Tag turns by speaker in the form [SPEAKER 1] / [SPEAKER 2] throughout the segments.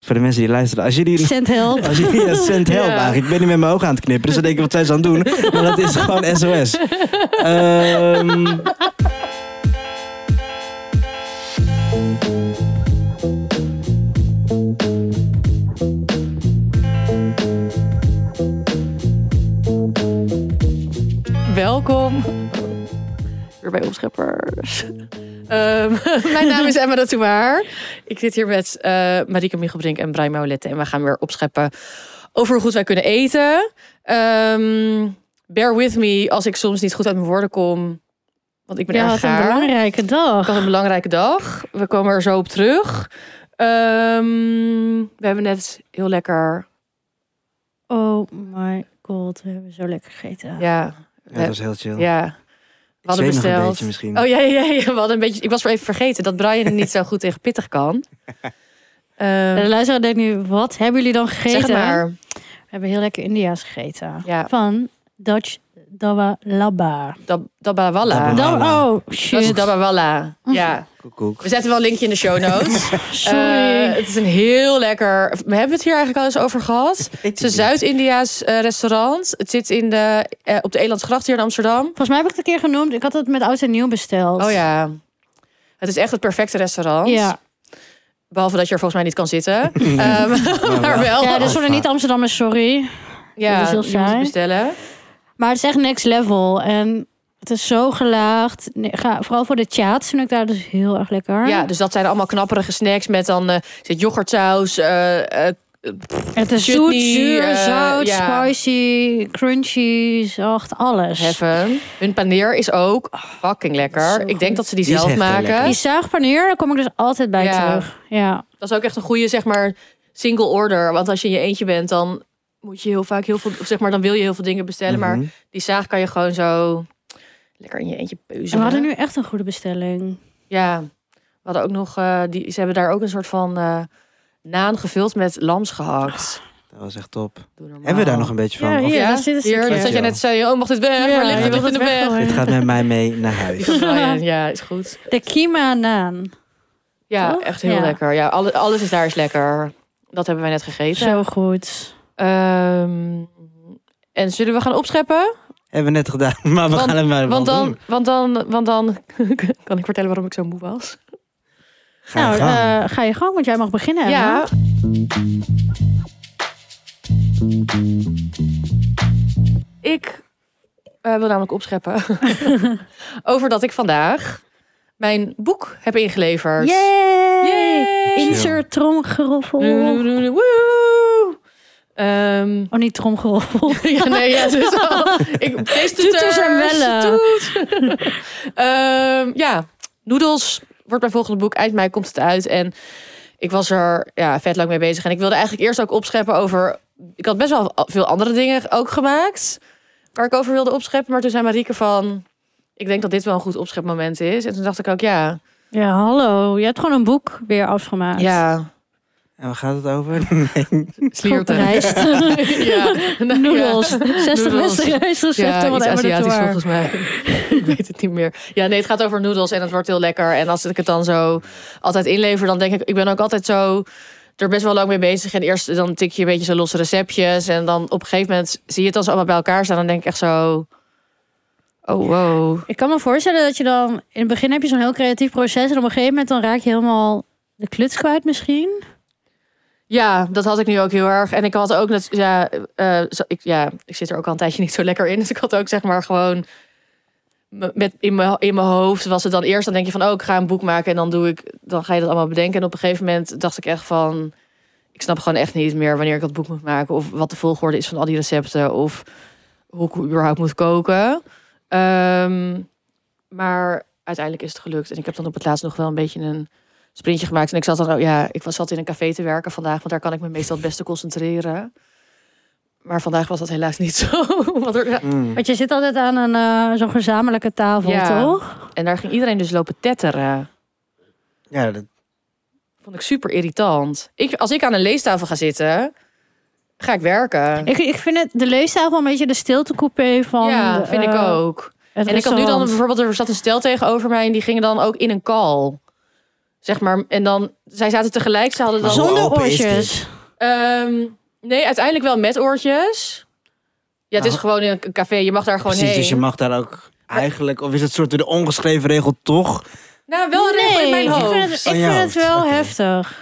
[SPEAKER 1] voor de mensen die luisteren. Als jullie...
[SPEAKER 2] Send help.
[SPEAKER 1] Als jullie ja, send help
[SPEAKER 3] Ja.
[SPEAKER 1] eigenlijk. Ik ben niet met mijn ogen aan het knippen, dus dan denk ik wat zijn ze aan het doen. Maar dat is gewoon SOS. Ehm,
[SPEAKER 3] Welkom. Weer bij Opscheppers. Ehm, mijn naam is Emma Datouwaar. Ik zit hier met eh Marike Michelbrink en Brian Maulette. En we gaan weer opscheppen over hoe goed wij kunnen eten. Ehm, bear with me als ik soms niet goed uit mijn woorden kom. Want ik ben
[SPEAKER 2] Ja,
[SPEAKER 3] erg
[SPEAKER 2] wat een
[SPEAKER 3] gaar.
[SPEAKER 2] belangrijke
[SPEAKER 3] Ik had
[SPEAKER 2] dag.
[SPEAKER 3] een belangrijke dag. We komen er zo op terug. Ehm, we hebben net heel lekker...
[SPEAKER 2] Oh my god, we hebben zo lekker gegeten.
[SPEAKER 3] Ja,
[SPEAKER 1] ja, dat was heel chill.
[SPEAKER 3] ja. We hadden
[SPEAKER 1] Zweemig een
[SPEAKER 3] besteld.
[SPEAKER 1] beetje misschien.
[SPEAKER 3] Oh ja, ja, ja, ja, we hadden een beetje. Ik was wel even vergeten dat Brian het niet zo goed tegen pittig kan. Ehm,
[SPEAKER 2] De luisteraar denkt nu, wat hebben jullie dan gegeten?
[SPEAKER 3] zeg maar.
[SPEAKER 2] We hebben heel lekker India's gegeten.
[SPEAKER 3] Ja.
[SPEAKER 2] Van Dutch Dabalaba.
[SPEAKER 3] Dab- Dabawalla.
[SPEAKER 1] Dabawalla.
[SPEAKER 3] Dat
[SPEAKER 2] Dan,
[SPEAKER 1] Dabawala.
[SPEAKER 2] oh,
[SPEAKER 3] is
[SPEAKER 2] shit.
[SPEAKER 3] Dabawalla. Ja.
[SPEAKER 1] Koek, koek.
[SPEAKER 3] We zetten wel een linkje in de show notes.
[SPEAKER 2] Sorry.
[SPEAKER 3] Eh, het is een heel lekker. We hebben het hier eigenlijk al eens over gehad. Het is een Zuid-India's eh, restaurant. Het zit in de, eh, op de Elandsgracht hier in Amsterdam.
[SPEAKER 2] Volgens mij heb ik het een keer genoemd. Ik had het met oud en nieuw besteld.
[SPEAKER 3] Oh ja. Het is echt het perfecte restaurant.
[SPEAKER 2] Ja,
[SPEAKER 3] Behalve dat je er volgens mij niet kan zitten. Ehm, maar wel.
[SPEAKER 2] ja dus voor de niet-Amsterdammers, sorry.
[SPEAKER 3] Ja,
[SPEAKER 2] Dat is heel
[SPEAKER 3] je moet het
[SPEAKER 2] saai.
[SPEAKER 3] bestellen.
[SPEAKER 2] Maar het is echt next level. En het is zo gelaagd. Nee, ga, vooral voor de chats vind ik daar dus heel erg lekker.
[SPEAKER 3] Ja, dus dat zijn allemaal knapperige snacks met dan eh, zit yoghurtsaus, eh, eh,
[SPEAKER 2] het is
[SPEAKER 3] chutney,
[SPEAKER 2] zoet, zuur,
[SPEAKER 3] eh,
[SPEAKER 2] zout,
[SPEAKER 3] ja.
[SPEAKER 2] spicy, crunchy, echt alles.
[SPEAKER 3] heaven. Hun paneer is ook fucking
[SPEAKER 2] Zo
[SPEAKER 3] lekker. Ik denk
[SPEAKER 2] goed.
[SPEAKER 3] dat ze die,
[SPEAKER 1] Die is
[SPEAKER 3] zelf
[SPEAKER 1] echt heel
[SPEAKER 3] maken.
[SPEAKER 1] lekker.
[SPEAKER 2] Die zuigpaneer, daar kom ik dus altijd bij
[SPEAKER 3] Ja.
[SPEAKER 2] terug. Ja.
[SPEAKER 3] Dat is ook echt een goede zeg maar single order, want als je in je eentje bent dan moet je heel vaak heel veel of zeg maar dan wil je heel veel dingen bestellen,
[SPEAKER 1] Mhm.
[SPEAKER 3] maar die zaag kan je gewoon zo lekker in je eentje
[SPEAKER 2] En
[SPEAKER 3] peuzelen.
[SPEAKER 2] we hadden nu echt een goede bestelling.
[SPEAKER 3] Ja. We hadden ook nog eh, die ze hebben daar ook een soort van eh, naan gevuld met lamsgehakt.
[SPEAKER 1] Dat was echt top.
[SPEAKER 3] Doe
[SPEAKER 1] Hebben we daar nog
[SPEAKER 3] normaal.
[SPEAKER 1] een beetje van?
[SPEAKER 2] Ja,
[SPEAKER 1] Of-
[SPEAKER 2] hier.
[SPEAKER 3] Nou. Ja,
[SPEAKER 2] daar zit een
[SPEAKER 3] hier,
[SPEAKER 2] stukje.
[SPEAKER 3] dat jij net zei, oh, mag dit weg?
[SPEAKER 2] Ja,
[SPEAKER 3] Waar ligt
[SPEAKER 2] ik
[SPEAKER 3] dit
[SPEAKER 2] wil
[SPEAKER 3] in de
[SPEAKER 2] het
[SPEAKER 3] weg?
[SPEAKER 2] weggooien.
[SPEAKER 1] Dit gaat met mij mee naar huis.
[SPEAKER 3] Brian, ja, is goed.
[SPEAKER 2] De kima naan.
[SPEAKER 3] Ja,
[SPEAKER 2] Toch?
[SPEAKER 3] echt heel
[SPEAKER 2] Ja.
[SPEAKER 3] lekker. Ja, alles, alles is daar is lekker. Dat hebben wij net gegeten.
[SPEAKER 2] Zo goed.
[SPEAKER 3] Ehm, en zullen we gaan opscheppen?
[SPEAKER 1] Hebben we net gedaan, maar we
[SPEAKER 3] Want-
[SPEAKER 1] gaan het maar
[SPEAKER 3] Want
[SPEAKER 1] wel
[SPEAKER 3] dan,
[SPEAKER 1] doen.
[SPEAKER 3] want dan, want dan kan ik vertellen waarom ik zo moe was.
[SPEAKER 1] Ga je
[SPEAKER 2] Nou,
[SPEAKER 1] gang.
[SPEAKER 2] eh, ga je gang, want jij mag beginnen. Emma.
[SPEAKER 3] Ja. Ik eh, wil namelijk opscheppen over dat ik vandaag mijn boek heb ingeleverd.
[SPEAKER 2] Yay!
[SPEAKER 3] Yay!
[SPEAKER 2] Insert tromgeroffel.
[SPEAKER 3] Woe! Ehm,
[SPEAKER 2] Oh, niet tromgeroffel.
[SPEAKER 3] ja, nee, ja, het is al. Ik,
[SPEAKER 2] Toeters
[SPEAKER 3] deze toeters
[SPEAKER 2] en bellen.
[SPEAKER 3] toet. Ehm, ja, Noedels wordt mijn volgende boek. Eind mei komt het uit. En ik was er ja, vet lang mee bezig. En ik wilde eigenlijk eerst ook opscheppen over... Ik had best wel veel andere dingen ook gemaakt. Waar ik over wilde opscheppen. Maar toen zei Marieke van... Ik denk dat dit wel een goed opschepmoment is. En toen dacht ik ook, ja.
[SPEAKER 2] Ja, hallo. Je hebt gewoon een boek weer afgemaakt.
[SPEAKER 3] Ja,
[SPEAKER 1] En waar gaat het over? Nee.
[SPEAKER 3] slierten.
[SPEAKER 2] Gerijst.
[SPEAKER 3] ja, nou, ja.
[SPEAKER 2] Noedels. 60
[SPEAKER 3] Noedels.
[SPEAKER 2] beste reisrecepten.
[SPEAKER 3] Ja,
[SPEAKER 2] wat
[SPEAKER 3] iets
[SPEAKER 2] Emma de
[SPEAKER 3] Aziatisch
[SPEAKER 2] Tour.
[SPEAKER 3] volgens mij. ik weet het niet meer. Ja, nee, het gaat over noedels en het wordt heel lekker. En als ik het dan zo altijd inlever, dan denk ik... Ik ben ook altijd zo er best wel lang mee bezig. En eerst dan tik je een beetje zo losse receptjes. En dan op een gegeven moment zie je het dan zo allemaal bij elkaar staan. Dan denk ik echt zo... Oh, wow.
[SPEAKER 2] Ik kan me voorstellen dat je dan... In het begin heb je zo'n heel creatief proces. En op een gegeven moment dan raak je helemaal de kluts kwijt misschien.
[SPEAKER 3] Ja, dat had ik nu ook heel erg. En ik had ook net, ja, eh, zo- ik, ja, ik zit er ook al een tijdje niet zo lekker in. Dus ik had ook zeg maar gewoon m- met in mijn in mijn hoofd was het dan eerst dan denk je van oh ik ga een boek maken en dan doe ik dan ga je dat allemaal bedenken en op een gegeven moment dacht ik echt van ik snap gewoon echt niet meer wanneer ik dat boek moet maken of wat de volgorde is van al die recepten of hoe ik überhaupt moet koken. Ehm, maar uiteindelijk is het gelukt en ik heb dan op het laatst nog wel een beetje een sprintje gemaakt. En ik zat dan, ook- ja, ik was, zat in een café te werken vandaag, want daar kan ik me meestal het beste concentreren. Maar vandaag was dat helaas niet zo. want er-
[SPEAKER 1] Mm.
[SPEAKER 2] Want je zit altijd aan een, eh, zo'n gezamenlijke tafel,
[SPEAKER 3] Ja.
[SPEAKER 2] toch?
[SPEAKER 3] en daar ging iedereen dus lopen tetteren.
[SPEAKER 1] Ja, dat,
[SPEAKER 3] Vond ik super irritant. Ik, als ik aan een leestafel ga zitten, ga ik werken.
[SPEAKER 2] Ik, ik vind het de leestafel een beetje de stiltecoupé van...
[SPEAKER 3] ja,
[SPEAKER 2] de,
[SPEAKER 3] vind ik
[SPEAKER 2] eh,
[SPEAKER 3] ook.
[SPEAKER 2] het
[SPEAKER 3] En ik had nu dan
[SPEAKER 2] restaurant.
[SPEAKER 3] bijvoorbeeld, er zat een stel tegenover mij en die gingen dan ook in een call. Zeg maar. En dan, zij zaten tegelijk. Ze hadden
[SPEAKER 1] Maar
[SPEAKER 3] dan.
[SPEAKER 1] hoe
[SPEAKER 2] Zonder
[SPEAKER 1] open is
[SPEAKER 2] oortjes.
[SPEAKER 1] dit?
[SPEAKER 3] Ehm, nee, uiteindelijk wel met oortjes. Ja, het is
[SPEAKER 1] Ah.
[SPEAKER 3] gewoon in een café. Je mag daar gewoon
[SPEAKER 1] Precies,
[SPEAKER 3] heen.
[SPEAKER 1] dus je mag daar ook eigenlijk... Of is het soort de ongeschreven regel toch?
[SPEAKER 3] Nou, wel een regel in mijn
[SPEAKER 2] ik
[SPEAKER 3] hoofd.
[SPEAKER 2] vind het, ik
[SPEAKER 1] Oh, ja,
[SPEAKER 2] vind het wel
[SPEAKER 1] oké.
[SPEAKER 2] heftig.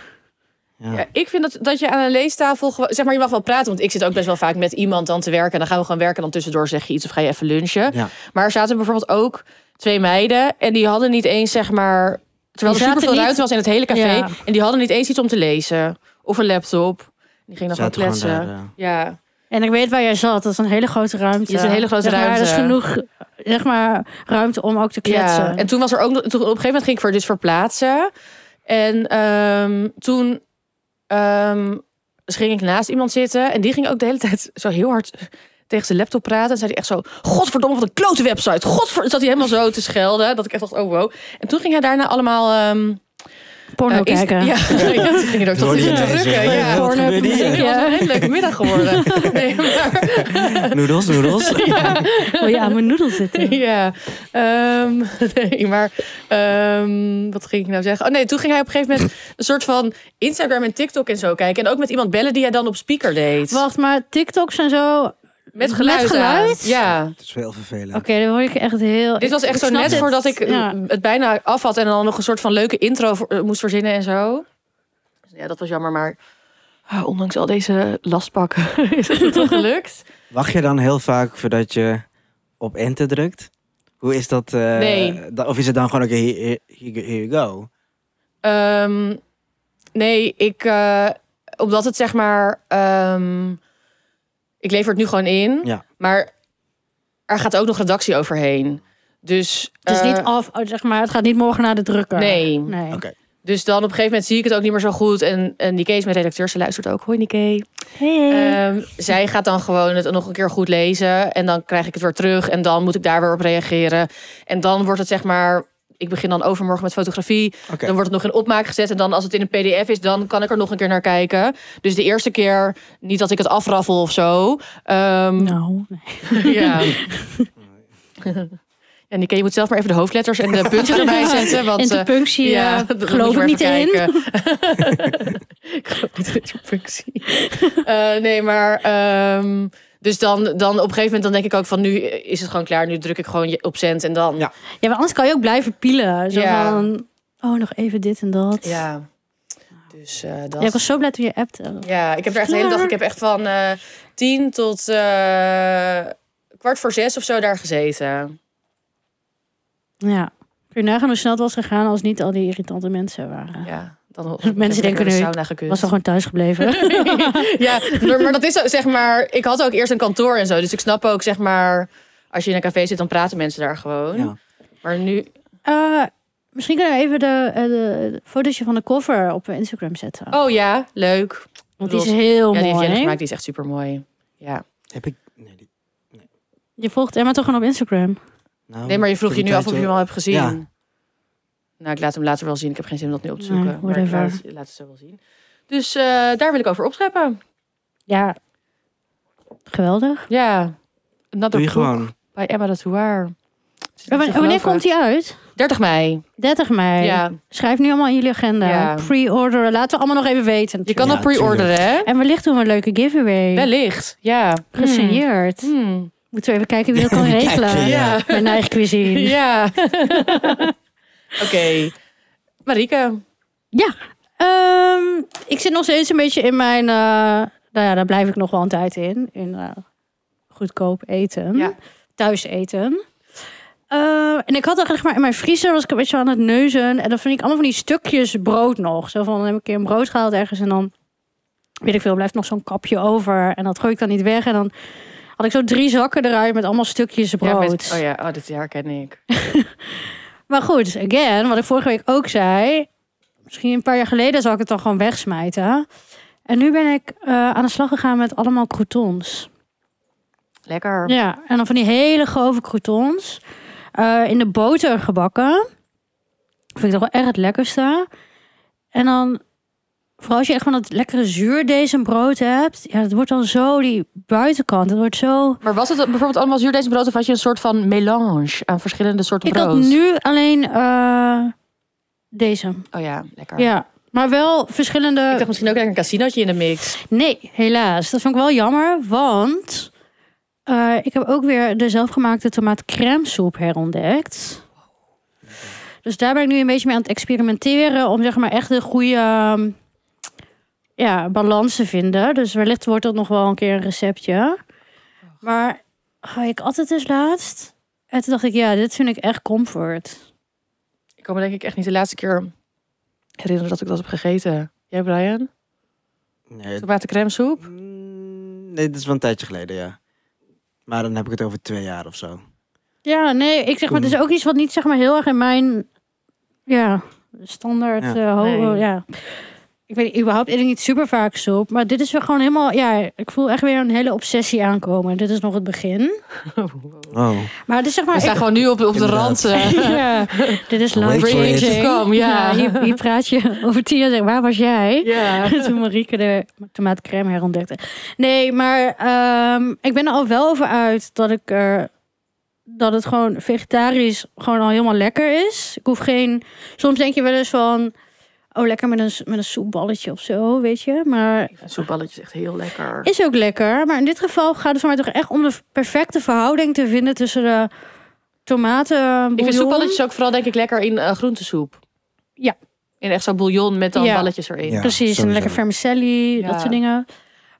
[SPEAKER 3] Ja, ik vind dat, dat je aan een leestafel... gewoon- Zeg maar, je mag wel praten. Want ik zit ook best wel vaak met iemand dan te werken. En dan gaan we gewoon werken. En dan tussendoor zeg je iets of ga je even lunchen.
[SPEAKER 1] Ja.
[SPEAKER 3] Maar er zaten bijvoorbeeld ook twee meiden. En die hadden niet eens, zeg maar... Terwijl
[SPEAKER 2] Die
[SPEAKER 3] er
[SPEAKER 2] zaten
[SPEAKER 3] superveel
[SPEAKER 2] niet-
[SPEAKER 3] ruimte was in het hele café.
[SPEAKER 2] Ja.
[SPEAKER 3] En die hadden niet eens iets om te lezen. Of een laptop. Die gingen dan
[SPEAKER 1] Zaten
[SPEAKER 3] gewoon
[SPEAKER 1] gewoon
[SPEAKER 3] kletsen.
[SPEAKER 1] daar, eh. ja.
[SPEAKER 3] ja.
[SPEAKER 2] En ik weet waar jij zat. Dat is een hele grote ruimte.
[SPEAKER 3] Het is een hele grote
[SPEAKER 2] Zeg maar,
[SPEAKER 3] ruimte.
[SPEAKER 2] Er is genoeg zeg maar, ruimte om ook te kletsen.
[SPEAKER 3] Ja, en toen was er ook nog, toen, op een gegeven moment ging ik voor dus verplaatsen. En ehm, toen ehm, dus ging ik naast iemand zitten en die ging ook de hele tijd zo heel hard tegen zijn laptop praten. En zei hij echt zo, godverdomme wat een klote website. Godver... Zat hij helemaal zo te schelden, dat ik echt dacht, oh wow. En toen ging hij daarna allemaal... ehm,
[SPEAKER 2] Porno
[SPEAKER 3] eh, inst-
[SPEAKER 2] kijken.
[SPEAKER 3] Ja, ja, toen ging hij
[SPEAKER 1] Dat
[SPEAKER 3] ook tot
[SPEAKER 1] hoorde
[SPEAKER 3] in
[SPEAKER 1] je
[SPEAKER 3] te
[SPEAKER 1] ineens,
[SPEAKER 3] drukken.
[SPEAKER 1] hè?
[SPEAKER 3] Ja.
[SPEAKER 1] Wat
[SPEAKER 2] Porno
[SPEAKER 1] gebeurde
[SPEAKER 3] Het
[SPEAKER 1] hier?
[SPEAKER 2] muziek.
[SPEAKER 3] was
[SPEAKER 2] Ja.
[SPEAKER 3] een hele leuke middag geworden. Nee, maar...
[SPEAKER 1] eh, Noedels, noedels.
[SPEAKER 2] Wil je aan Oh mijn noedel zitten?
[SPEAKER 3] Ja, ehm, nee, maar ehm, wat ging ik nou zeggen? Oh nee, toen ging hij op een gegeven moment een soort van Instagram en TikTok en zo kijken. En ook met iemand bellen die hij dan op speaker deed.
[SPEAKER 2] Wacht, maar TikToks en zo. Oké,
[SPEAKER 3] Met geluid.
[SPEAKER 2] Met geluid?
[SPEAKER 3] aan. Ja.
[SPEAKER 1] Het is wel heel vervelend.
[SPEAKER 2] dan word ik echt heel...
[SPEAKER 3] Dit was echt zo net voordat ik
[SPEAKER 2] Ja.
[SPEAKER 3] eh, het bijna af had en dan nog een soort van leuke intro voor- eh, moest verzinnen en zo. Dus Ja, dat was jammer, maar ah, ondanks al deze lastpakken is het toch gelukt.
[SPEAKER 1] Wacht je dan heel vaak voordat je op enter drukt? Hoe is dat? eh,
[SPEAKER 3] Nee.
[SPEAKER 1] da- of is het dan gewoon, oké, here, here- here you go.
[SPEAKER 3] Ehm, nee, ik. eh, omdat het zeg maar. ehm, ik lever het nu gewoon in.
[SPEAKER 1] Ja.
[SPEAKER 3] Maar er gaat ook nog redactie overheen. Dus.
[SPEAKER 2] Het is
[SPEAKER 3] eh,
[SPEAKER 2] niet af, oh, zeg maar, het gaat niet morgen naar de drukker.
[SPEAKER 3] Nee.
[SPEAKER 2] nee.
[SPEAKER 1] Oké.
[SPEAKER 3] Dus dan op een gegeven moment zie ik het ook niet meer zo goed. En, en Nike is mijn redacteur. Ze luistert ook. Hoi Nike.
[SPEAKER 2] Hey.
[SPEAKER 3] Ehm, zij gaat dan gewoon het nog een keer goed lezen. En dan krijg ik het weer terug. En dan moet ik daar weer op reageren. En dan wordt het zeg maar. Ik begin dan overmorgen met fotografie.
[SPEAKER 1] Oké.
[SPEAKER 3] Dan wordt het nog in opmaak gezet. En dan als het in een pdf is, dan kan ik er nog een keer naar kijken. Dus de eerste keer, niet dat ik het afraffel of zo. Ehm,
[SPEAKER 2] Nou, nee.
[SPEAKER 3] Ja. En Nike, je moet zelf maar even de hoofdletters en de puntjes erbij zetten. Want eh,
[SPEAKER 2] interpunctie eh,
[SPEAKER 3] dat moet
[SPEAKER 2] geloof
[SPEAKER 3] je
[SPEAKER 2] ik
[SPEAKER 3] maar
[SPEAKER 2] niet
[SPEAKER 3] even
[SPEAKER 2] in.
[SPEAKER 3] kijken. ik geloof niet in die functie. Eh, nee, maar... ehm, dus dan, dan op een gegeven moment dan denk ik ook van... nu is het gewoon klaar, nu druk ik gewoon je- op zend en dan...
[SPEAKER 1] Ja.
[SPEAKER 2] Ja, maar anders kan je ook blijven pielen. Zo
[SPEAKER 3] Ja.
[SPEAKER 2] van, oh, nog even dit en dat.
[SPEAKER 3] Ja. Dus eh, dat...
[SPEAKER 2] Ja, ik was zo blij toen je appte.
[SPEAKER 3] Ja, ik heb er echt de hele dag. Ik heb echt van eh tien tot eh, kwart voor zes of zo daar gezeten.
[SPEAKER 2] Ja. Kun je nagaan hoe snel het was gegaan als niet al die irritante mensen waren.
[SPEAKER 3] Ja, dus- dan
[SPEAKER 2] Mensen denken
[SPEAKER 3] de
[SPEAKER 2] nu,
[SPEAKER 3] sauna gekund.
[SPEAKER 2] Was dan gewoon thuis gebleven.
[SPEAKER 3] ja, maar maar dat is zo, zeg maar. Ik had ook eerst een kantoor en zo, dus ik snap ook zeg maar. Als je in een café zit, dan praten mensen daar gewoon.
[SPEAKER 1] Ja.
[SPEAKER 3] Maar nu,
[SPEAKER 2] Eh, misschien kunnen we even de, eh, de, de fotootje van de cover op Instagram zetten.
[SPEAKER 3] oh ja, leuk.
[SPEAKER 2] Want die is
[SPEAKER 3] los.
[SPEAKER 2] heel
[SPEAKER 3] ja, die heeft
[SPEAKER 2] mooi.
[SPEAKER 3] Jenny
[SPEAKER 2] hè?
[SPEAKER 3] gemaakt, die is echt super mooi. Ja.
[SPEAKER 1] Heb ik? Nee, die-
[SPEAKER 2] Je volgt Emma toch gewoon op Instagram?
[SPEAKER 1] nou,
[SPEAKER 3] Nee, maar je vroeg je nu af of je hem al hebt gezien.
[SPEAKER 1] Ja.
[SPEAKER 3] Nou, ik laat hem later wel zien. Ik heb geen zin om dat nu op te
[SPEAKER 2] Nee,
[SPEAKER 3] zoeken. maar ik
[SPEAKER 2] whatever.
[SPEAKER 3] laat, laat het zo wel zien. Dus eh, daar wil ik over opscheppen.
[SPEAKER 2] Ja. Geweldig.
[SPEAKER 3] Ja. Another
[SPEAKER 1] Doe je
[SPEAKER 3] Book
[SPEAKER 1] gewoon.
[SPEAKER 3] Bij Emma de Touar.
[SPEAKER 2] En wa- Eh, wanneer komt die uit?
[SPEAKER 3] 30 mei.
[SPEAKER 2] 30 mei.
[SPEAKER 3] Ja.
[SPEAKER 2] Schrijf nu allemaal in jullie agenda.
[SPEAKER 3] Ja.
[SPEAKER 2] Pre-orderen. Laten we allemaal nog even weten.
[SPEAKER 3] Je kan
[SPEAKER 1] Ja,
[SPEAKER 3] nog pre-orderen, hè?
[SPEAKER 2] En wellicht doen we een leuke giveaway.
[SPEAKER 3] Wellicht. Ja.
[SPEAKER 2] Gesigneerd.
[SPEAKER 3] Hmm.
[SPEAKER 2] Moeten we even kijken wie dat kan
[SPEAKER 1] Even kijken,
[SPEAKER 2] regelen.
[SPEAKER 1] ja.
[SPEAKER 2] Bij Mijn eigen cuisine.
[SPEAKER 3] Hmm. Ja. Oké. Marike.
[SPEAKER 2] Ja, ehm, ik zit nog steeds een beetje in mijn. eh, nou ja, daar blijf ik nog wel een tijd in. In eh, goedkoop eten,
[SPEAKER 3] Ja.
[SPEAKER 2] thuis eten. Eh, en ik had eigenlijk maar in mijn vriezer was ik een beetje aan het neuzen. En dan vind ik allemaal van die stukjes brood nog. Zo van dan heb ik een keer een brood gehaald ergens en dan weet ik veel, blijft nog zo'n kapje over. En dat gooi ik dan niet weg. En dan had ik zo drie zakken eruit met allemaal stukjes brood.
[SPEAKER 3] Ja, met- oh ja, oh, dit jaar ken ik.
[SPEAKER 2] Maar goed, dus again, wat ik vorige week ook zei. Misschien een paar jaar geleden zal ik het dan gewoon wegsmijten. En nu ben ik eh, aan de slag gegaan met allemaal croutons.
[SPEAKER 3] Lekker.
[SPEAKER 2] Ja, en dan van die hele grove croutons. eh, in de boter gebakken. Vind ik toch wel echt het lekkerste. En dan, vooral als je echt van dat lekkere zuurdezenbrood hebt. Ja, dat wordt dan zo die buitenkant. Dat wordt zo...
[SPEAKER 3] Maar was het bijvoorbeeld allemaal zuurdezenbrood of had je een soort van melange aan verschillende soorten
[SPEAKER 2] Ik
[SPEAKER 3] brood?
[SPEAKER 2] had nu alleen eh Deze.
[SPEAKER 3] Oh ja, lekker.
[SPEAKER 2] Ja. Maar wel verschillende...
[SPEAKER 3] Ik dacht misschien ook lekker een casinootje in de mix.
[SPEAKER 2] Nee, helaas. Dat vond ik wel jammer, want eh, ik heb ook weer de zelfgemaakte tomaatcrème soep herontdekt. Dus daar ben ik nu een beetje mee aan het experimenteren om zeg maar echt de goede ehm, ja, balans te vinden. Dus wellicht wordt dat nog wel een keer een receptje. Maar ga ik altijd eens laatst. En toen dacht ik, ja, dit vind ik echt comfort.
[SPEAKER 3] Ik kan me denk ik echt niet de laatste keer herinneren dat ik dat heb gegeten. Jij Brian?
[SPEAKER 1] Nee,
[SPEAKER 3] Tomatencrème soep?
[SPEAKER 1] Mm, nee, dit is wel een tijdje geleden, ja. Maar dan heb ik het over twee jaar of zo.
[SPEAKER 2] Ja, nee, ik zeg maar, het is ook iets wat niet zeg maar heel erg in mijn ja, standaard
[SPEAKER 1] Ja.
[SPEAKER 2] ja. hoge,
[SPEAKER 3] Nee.
[SPEAKER 2] ja. Ik weet überhaupt eet ik niet super vaak soep, maar dit is weer gewoon helemaal, ja, ik voel echt weer een hele obsessie aankomen. Dit is nog het begin.
[SPEAKER 1] Oh.
[SPEAKER 2] Maar het is zeg maar,
[SPEAKER 3] We staan gewoon nu op, op de
[SPEAKER 1] Inderdaad.
[SPEAKER 3] rand. eh.
[SPEAKER 2] ik- ja, dit is
[SPEAKER 1] Wait
[SPEAKER 2] lang
[SPEAKER 1] for it.
[SPEAKER 3] Kom, ja.
[SPEAKER 2] hier, hier praat je over tien jaar, zeg, waar was jij?
[SPEAKER 3] Ja.
[SPEAKER 2] Toen Marieke de tomaatcrème herontdekte. Nee, maar ehm, ik ben er al wel over uit dat ik er dat het gewoon vegetarisch gewoon al helemaal lekker is. Ik hoef geen. Soms denk je wel eens van, oh lekker met een s- met een soepballetje of zo, weet je. Maar
[SPEAKER 3] Soepballetjes echt heel lekker.
[SPEAKER 2] is ook lekker. Maar in dit geval gaat het voor mij toch echt om de perfecte verhouding te vinden tussen de tomaten.
[SPEAKER 3] Ik vind
[SPEAKER 2] bouillon.
[SPEAKER 3] soepballetjes ook vooral denk ik lekker in eh, groentesoep.
[SPEAKER 2] Ja.
[SPEAKER 3] In echt zo'n bouillon met dan
[SPEAKER 2] Ja.
[SPEAKER 3] balletjes erin.
[SPEAKER 1] Ja.
[SPEAKER 2] Precies, en
[SPEAKER 1] sowieso.
[SPEAKER 2] lekker vermicelli,
[SPEAKER 3] Ja.
[SPEAKER 2] dat soort dingen.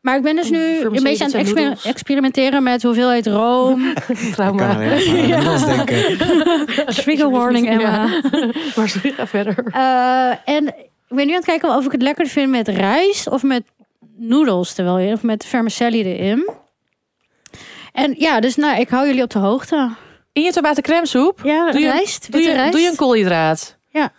[SPEAKER 2] Maar ik ben dus
[SPEAKER 3] Oh,
[SPEAKER 2] nu een
[SPEAKER 3] vermicelli,
[SPEAKER 2] beetje aan
[SPEAKER 3] dat
[SPEAKER 2] het
[SPEAKER 3] zijn
[SPEAKER 2] exper-
[SPEAKER 3] noedels.
[SPEAKER 2] experimenteren met hoeveelheid room.
[SPEAKER 1] Ik kan
[SPEAKER 3] Trauma.
[SPEAKER 1] alleen maar aan noedels denken.
[SPEAKER 2] Trigger warning,
[SPEAKER 3] Ja.
[SPEAKER 2] Emma.
[SPEAKER 3] Maar sorry, ga verder.
[SPEAKER 2] Eh, en ik ben nu aan het kijken of ik het lekker vind met rijst of met noedels terwijl je of met vermicelli erin. En ja, dus nou, ik hou jullie op de hoogte.
[SPEAKER 3] In je tomatencrème soep
[SPEAKER 2] Ja,
[SPEAKER 3] Doe je-
[SPEAKER 2] rijst,
[SPEAKER 3] doe
[SPEAKER 2] witte
[SPEAKER 3] je,
[SPEAKER 2] rijst.
[SPEAKER 3] doe je een koolhydraat.
[SPEAKER 2] Ja.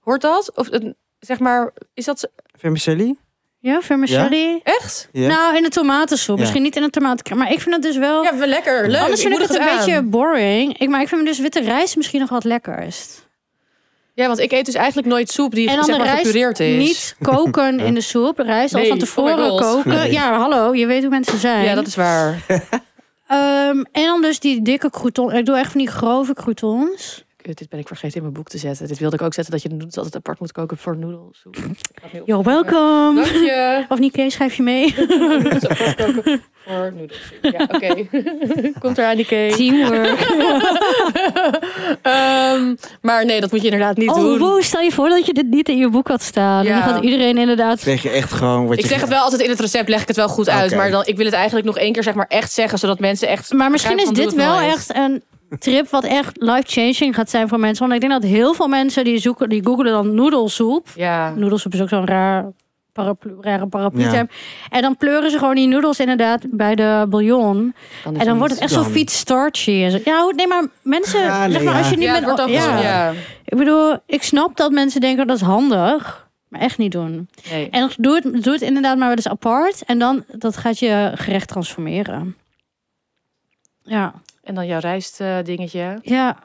[SPEAKER 3] Hoort dat? Of eh, zeg maar, is dat zo-
[SPEAKER 1] Vermicelli?
[SPEAKER 2] Ja, vermicelli.
[SPEAKER 3] echt?
[SPEAKER 1] Ja.
[SPEAKER 2] Nou, in de tomatensoep.
[SPEAKER 1] Ja.
[SPEAKER 2] Misschien niet in de tomaten. Maar ik vind het dus wel...
[SPEAKER 3] Ja, wel lekker. Leuk.
[SPEAKER 2] Anders vind ik
[SPEAKER 3] moedig
[SPEAKER 2] het een
[SPEAKER 3] aan.
[SPEAKER 2] beetje boring. Ik, maar ik vind dus witte rijst misschien nog wat lekkerst.
[SPEAKER 3] Ja, want ik eet dus eigenlijk nooit soep die
[SPEAKER 2] en dan
[SPEAKER 3] zeg
[SPEAKER 2] de
[SPEAKER 3] maar
[SPEAKER 2] rijst
[SPEAKER 3] gepureerd is.
[SPEAKER 2] niet koken in de soep. Rijst al
[SPEAKER 3] Nee,
[SPEAKER 2] van
[SPEAKER 3] oh
[SPEAKER 2] tevoren
[SPEAKER 3] my God.
[SPEAKER 2] koken.
[SPEAKER 1] Nee.
[SPEAKER 2] Ja, hallo, je weet hoe mensen zijn.
[SPEAKER 3] Ja, dat is waar.
[SPEAKER 2] Ehm, en dan dus die dikke croutons. Ik doe echt van die grove croutons.
[SPEAKER 3] Kut, dit ben ik vergeten in mijn boek te zetten. Dit wilde ik ook zetten dat je de noedels altijd apart moet koken voor noedelsoep. Ik ga het nu
[SPEAKER 2] You're
[SPEAKER 3] opzoeken.
[SPEAKER 2] welcome.
[SPEAKER 3] Dank je.
[SPEAKER 2] Of niet, Kees, schrijf je mee.
[SPEAKER 3] Noedels apart koken voor noedelsoep. Ja, oké. Komt eraan die cake.
[SPEAKER 2] Teamwork.
[SPEAKER 3] Ehm, maar nee, dat moet je inderdaad niet
[SPEAKER 2] Oh,
[SPEAKER 3] doen.
[SPEAKER 2] wow, stel je voor dat je dit niet in je boek had staan. En
[SPEAKER 3] Ja.
[SPEAKER 2] dan gaat iedereen inderdaad...
[SPEAKER 1] Kreeg je echt gewoon wat
[SPEAKER 3] Ik
[SPEAKER 1] je...
[SPEAKER 3] zeg het wel altijd in het recept, leg ik het wel goed uit.
[SPEAKER 1] Oké.
[SPEAKER 3] Maar dan, ik wil het eigenlijk nog één keer zeg maar echt zeggen, zodat mensen echt...
[SPEAKER 2] Maar misschien is
[SPEAKER 3] begrijpen van,
[SPEAKER 2] dit
[SPEAKER 3] doe het
[SPEAKER 2] wel
[SPEAKER 3] nooit.
[SPEAKER 2] echt een trip wat echt life-changing gaat zijn voor mensen. Want ik denk dat heel veel mensen die zoeken, die googelen dan noedelsoep.
[SPEAKER 3] Ja.
[SPEAKER 2] Noedelsoep is ook zo'n raar paraplu, rare paraplu
[SPEAKER 1] Ja.
[SPEAKER 2] term. En dan pleuren ze gewoon die noedels inderdaad bij de bouillon. En dan wordt het echt zo
[SPEAKER 1] Dan-
[SPEAKER 2] fiets starchy. en zo. Ja, hoe- nee, maar mensen,
[SPEAKER 1] Ja, Ah, nee,
[SPEAKER 2] zeg maar, als je
[SPEAKER 1] ja.
[SPEAKER 2] niet
[SPEAKER 3] Ja, het
[SPEAKER 2] met...
[SPEAKER 3] wordt dan
[SPEAKER 2] ja.
[SPEAKER 3] ja. ja.
[SPEAKER 2] Ik bedoel, ik snap dat mensen denken dat is handig. Maar echt niet doen.
[SPEAKER 3] Nee.
[SPEAKER 2] En doe het, doe het inderdaad maar wel eens apart. En dan dat gaat je gerecht transformeren. Ja.
[SPEAKER 3] En dan jouw rijst eh, dingetje.
[SPEAKER 2] Ja.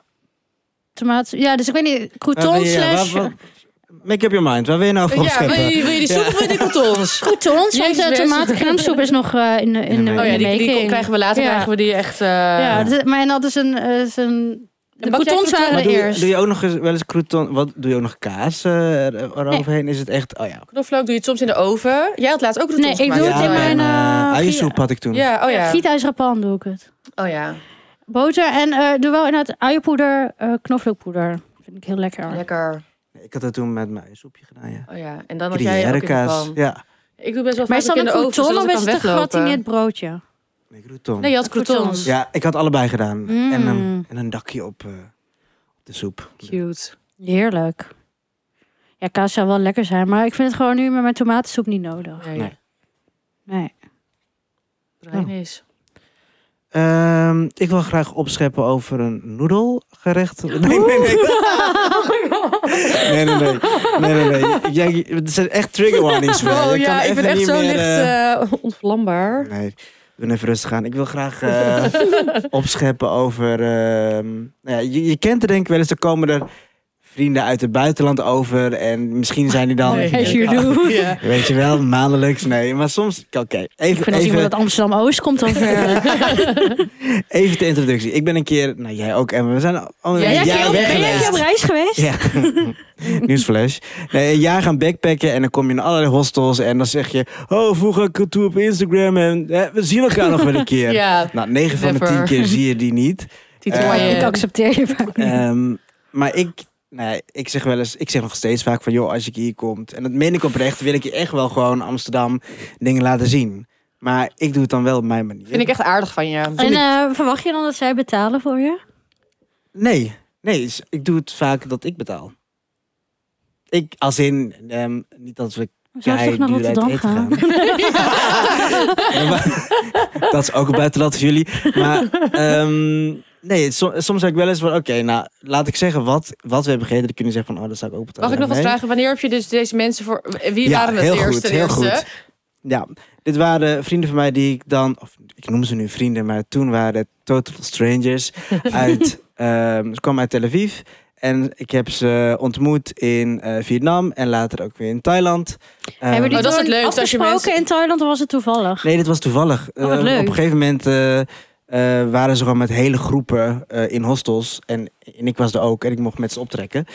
[SPEAKER 2] Tomaat. Ja, dus ik weet niet.
[SPEAKER 1] Waar
[SPEAKER 2] Crouton
[SPEAKER 1] wil je- ja,
[SPEAKER 2] slash.
[SPEAKER 1] waar- waar- Make up your mind. Waar wil je nou voor
[SPEAKER 3] Ja, wil
[SPEAKER 1] opscheppen?
[SPEAKER 3] je, wil je die soep of wil je die croutons?
[SPEAKER 2] Croutons, want
[SPEAKER 3] Jezus,
[SPEAKER 2] de
[SPEAKER 3] mensen.
[SPEAKER 2] tomatencrèmesoep is nog eh, in, de- in, de-
[SPEAKER 1] Oh
[SPEAKER 3] Oh ja,
[SPEAKER 2] in de
[SPEAKER 3] die, die
[SPEAKER 2] making.
[SPEAKER 3] krijgen we later,
[SPEAKER 2] Ja.
[SPEAKER 3] krijgen we die echt... eh,
[SPEAKER 2] Ja, dus- maar en dat is een... eh, is een de
[SPEAKER 3] bak jij
[SPEAKER 2] croutons
[SPEAKER 3] croutons?
[SPEAKER 2] waren
[SPEAKER 1] Maar
[SPEAKER 2] de
[SPEAKER 1] doe, je-
[SPEAKER 2] eerst.
[SPEAKER 1] doe je ook nog eens, wel eens crouton... Wat, doe je ook nog kaas eh, er- eroverheen? Is het echt... Oh ja.
[SPEAKER 3] Knoflook doe je het soms in de oven. Jij had laatst ook croutons
[SPEAKER 2] Nee, ik
[SPEAKER 3] gemaakt.
[SPEAKER 2] doe het in
[SPEAKER 3] Ja,
[SPEAKER 2] mijn,
[SPEAKER 1] en,
[SPEAKER 2] eh,
[SPEAKER 1] eh,
[SPEAKER 2] gier-
[SPEAKER 1] uiensoep had ik toen.
[SPEAKER 3] Ja, oh ja.
[SPEAKER 2] Gietijzeren pan doe ik het.
[SPEAKER 3] Oh ja,
[SPEAKER 2] Boter en eh, doe wel inderdaad uienpoeder, eh knoflookpoeder. Vind ik heel lekker.
[SPEAKER 3] lekker.
[SPEAKER 1] Ik had dat toen met mijn soepje gedaan, ja.
[SPEAKER 3] Oh ja, en dan had jij ook in de
[SPEAKER 1] Gruyère-kaas.
[SPEAKER 3] pan.
[SPEAKER 1] Ja.
[SPEAKER 3] Ik doe best wel
[SPEAKER 2] Maar
[SPEAKER 3] vaak
[SPEAKER 2] is dat
[SPEAKER 3] ook in
[SPEAKER 2] een
[SPEAKER 3] de oven,
[SPEAKER 2] crouton of
[SPEAKER 3] zodat ik
[SPEAKER 2] is
[SPEAKER 3] kan
[SPEAKER 2] het een
[SPEAKER 3] weglopen.
[SPEAKER 2] gratineerd broodje?
[SPEAKER 1] Nee, crouton.
[SPEAKER 3] Nee, je had croutons.
[SPEAKER 2] Croutons.
[SPEAKER 1] Ja, ik had allebei gedaan.
[SPEAKER 2] Mm.
[SPEAKER 1] En, een, en een dakje op, eh, op de soep.
[SPEAKER 3] Cute.
[SPEAKER 2] Heerlijk. Ja, kaas zou wel lekker zijn, maar ik vind het gewoon nu met mijn tomatensoep niet nodig.
[SPEAKER 3] Nee,
[SPEAKER 1] Nee.
[SPEAKER 2] Nee.
[SPEAKER 3] Brian is.
[SPEAKER 1] Ehm, ik wil graag opscheppen over een noedelgerecht. Nee, nee, nee. Oh. nee, nee, nee. nee, nee, nee. Jij, het zijn echt trigger warnings voor jou.
[SPEAKER 3] Oh
[SPEAKER 1] Je kan
[SPEAKER 3] ja, ik ben
[SPEAKER 1] even
[SPEAKER 3] echt
[SPEAKER 1] niet
[SPEAKER 3] zo
[SPEAKER 1] meer,
[SPEAKER 3] licht
[SPEAKER 1] eh,
[SPEAKER 3] eh, ontvlambaar.
[SPEAKER 1] Nee, we doen even rustig aan. Ik wil graag eh, opscheppen over... ehm, nou ja, je, je kent er denk ik wel eens, er komen er vrienden uit het buitenland over. En misschien zijn die dan...
[SPEAKER 3] Nee.
[SPEAKER 2] As you do.
[SPEAKER 3] Ja.
[SPEAKER 1] Weet je wel, maandelijks. Nee, maar soms... Oké,
[SPEAKER 2] Ik
[SPEAKER 1] even,
[SPEAKER 2] vind als
[SPEAKER 1] even,
[SPEAKER 2] iemand uit Amsterdam-Oost komt, dan eh, ver.
[SPEAKER 1] even de introductie. Ik ben een keer... Nou, jij ook, Emma. We zijn al al een
[SPEAKER 3] Ja, jij
[SPEAKER 1] jaar
[SPEAKER 3] keer ook.
[SPEAKER 1] weg
[SPEAKER 3] Ben jij
[SPEAKER 1] geweest.
[SPEAKER 3] keer op
[SPEAKER 2] reis geweest?
[SPEAKER 1] Ja, nieuwsflash. Nee, een jaar gaan backpacken en dan kom je in allerlei hostels en dan zeg je... Oh, vroeger cultuur op Instagram en hè, we zien elkaar nog wel een keer.
[SPEAKER 3] Ja,
[SPEAKER 1] Nou, 9 van de 10
[SPEAKER 3] Never.
[SPEAKER 1] keer zie je die niet.
[SPEAKER 3] die
[SPEAKER 1] Eh,
[SPEAKER 3] toewaai-
[SPEAKER 2] Ik accepteer je vaak niet.
[SPEAKER 1] Ehm, maar ik, nou ja, ik zeg wel eens, ik zeg nog steeds vaak van... joh, als ik hier kom, en dat meen ik oprecht... wil ik je echt wel gewoon Amsterdam dingen laten zien. Maar ik doe het dan wel op mijn manier.
[SPEAKER 3] Vind ik echt aardig van je.
[SPEAKER 2] En eh, verwacht je dan dat zij betalen voor je?
[SPEAKER 1] Nee, nee, is- ik doe het vaak dat ik betaal. Ik, als in, ehm, niet dat we
[SPEAKER 2] Zou je
[SPEAKER 1] kei
[SPEAKER 2] toch naar
[SPEAKER 1] duur uit
[SPEAKER 2] Rotterdam
[SPEAKER 1] eten
[SPEAKER 2] gaan?
[SPEAKER 1] Ja, maar- dat is ook een buitenland voor jullie. Maar ehm, nee, so- soms heb ik wel eens van... Oké, nou, laat ik zeggen wat, wat we hebben gegeten. Dan kunnen ze zeggen van, oh, dat zou ik ook betalen.
[SPEAKER 3] Mag ik nog wat
[SPEAKER 1] Nee.
[SPEAKER 3] vragen? Wanneer heb je dus deze mensen voor... Wie
[SPEAKER 1] Ja,
[SPEAKER 3] waren het
[SPEAKER 1] heel
[SPEAKER 3] de
[SPEAKER 1] goed,
[SPEAKER 3] eerste? de
[SPEAKER 1] heel
[SPEAKER 3] eerste?
[SPEAKER 1] goed. Ja, dit waren vrienden van mij die ik dan... Of, ik noem ze nu vrienden, maar toen waren het total strangers. uit, ehm, ze kwamen uit Tel Aviv. En ik heb ze ontmoet in eh, Vietnam en later ook weer in Thailand. Ehm,
[SPEAKER 2] Hebben
[SPEAKER 3] Oh,
[SPEAKER 2] jullie
[SPEAKER 3] dat is het
[SPEAKER 2] toen
[SPEAKER 3] leukste, als je
[SPEAKER 2] afgesproken
[SPEAKER 3] mensen-
[SPEAKER 2] in Thailand of was het toevallig?
[SPEAKER 1] Nee, dit was toevallig.
[SPEAKER 2] Oh, wat
[SPEAKER 1] Eh,
[SPEAKER 2] leuk.
[SPEAKER 1] Op een gegeven moment eh, eh, waren ze gewoon met hele groepen eh, in hostels. En, en ik was er ook en ik mocht met ze optrekken.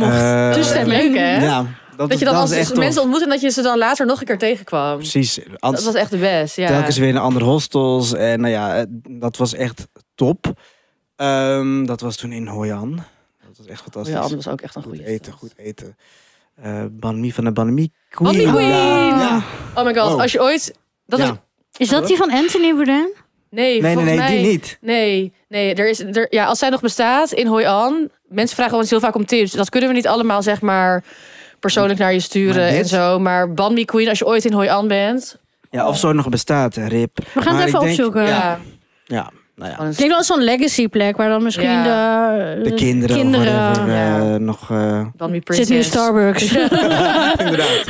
[SPEAKER 1] Eh,
[SPEAKER 3] Dat is echt leuk, hè?
[SPEAKER 1] Ja, dat,
[SPEAKER 3] Dat je dan
[SPEAKER 1] dat
[SPEAKER 3] als dus
[SPEAKER 1] was echt
[SPEAKER 3] mensen
[SPEAKER 1] tof.
[SPEAKER 3] ontmoet en dat je ze dan later nog een keer tegenkwam.
[SPEAKER 1] Precies.
[SPEAKER 3] Dat
[SPEAKER 1] Anders
[SPEAKER 3] was echt de best, ja.
[SPEAKER 1] telkens weer naar andere hostels. En nou ja, eh, dat was echt top. Ehm, dat was toen in Hoi An. Dat was echt fantastisch.
[SPEAKER 3] Ja, dat was ook echt een
[SPEAKER 1] goed
[SPEAKER 3] goede.
[SPEAKER 1] eten, goed eten. Eh Ban Mi van de Ban Mi Queen.
[SPEAKER 3] Ban Mi Queen!
[SPEAKER 1] Ja.
[SPEAKER 3] Oh my god,
[SPEAKER 1] Wow.
[SPEAKER 3] als je ooit... Dat
[SPEAKER 1] Ja.
[SPEAKER 3] is-
[SPEAKER 2] Is dat die van Anthony Bourdain?
[SPEAKER 3] Nee,
[SPEAKER 1] Nee, nee,
[SPEAKER 3] volgens
[SPEAKER 1] nee,
[SPEAKER 3] mij...
[SPEAKER 1] die niet.
[SPEAKER 3] Nee, nee er is, er, ja, als zij nog bestaat in Hoi An... Mensen vragen ons heel vaak om tips. Dat kunnen we niet allemaal, zeg maar, persoonlijk naar je sturen
[SPEAKER 1] Maar dit-
[SPEAKER 3] en zo. Maar Ban Mi Queen, als je ooit in Hoi An bent... eh,
[SPEAKER 1] Ja, of zo nog bestaat, eh, Rip.
[SPEAKER 2] We gaan
[SPEAKER 1] Maar
[SPEAKER 2] het even
[SPEAKER 1] ik denk-
[SPEAKER 2] opzoeken.
[SPEAKER 1] Ja.
[SPEAKER 3] Ja,
[SPEAKER 1] Ja, nou ja.
[SPEAKER 3] gewoon een
[SPEAKER 2] Ik denk wel eens zo'n legacy plek waar dan misschien
[SPEAKER 3] Ja.
[SPEAKER 2] de,
[SPEAKER 1] de kinderen, of whatever, eh,
[SPEAKER 3] ja.
[SPEAKER 1] nog... eh,
[SPEAKER 3] Ban Mi
[SPEAKER 2] Zit nu in
[SPEAKER 3] Princess.
[SPEAKER 2] Starbucks.
[SPEAKER 1] inderdaad.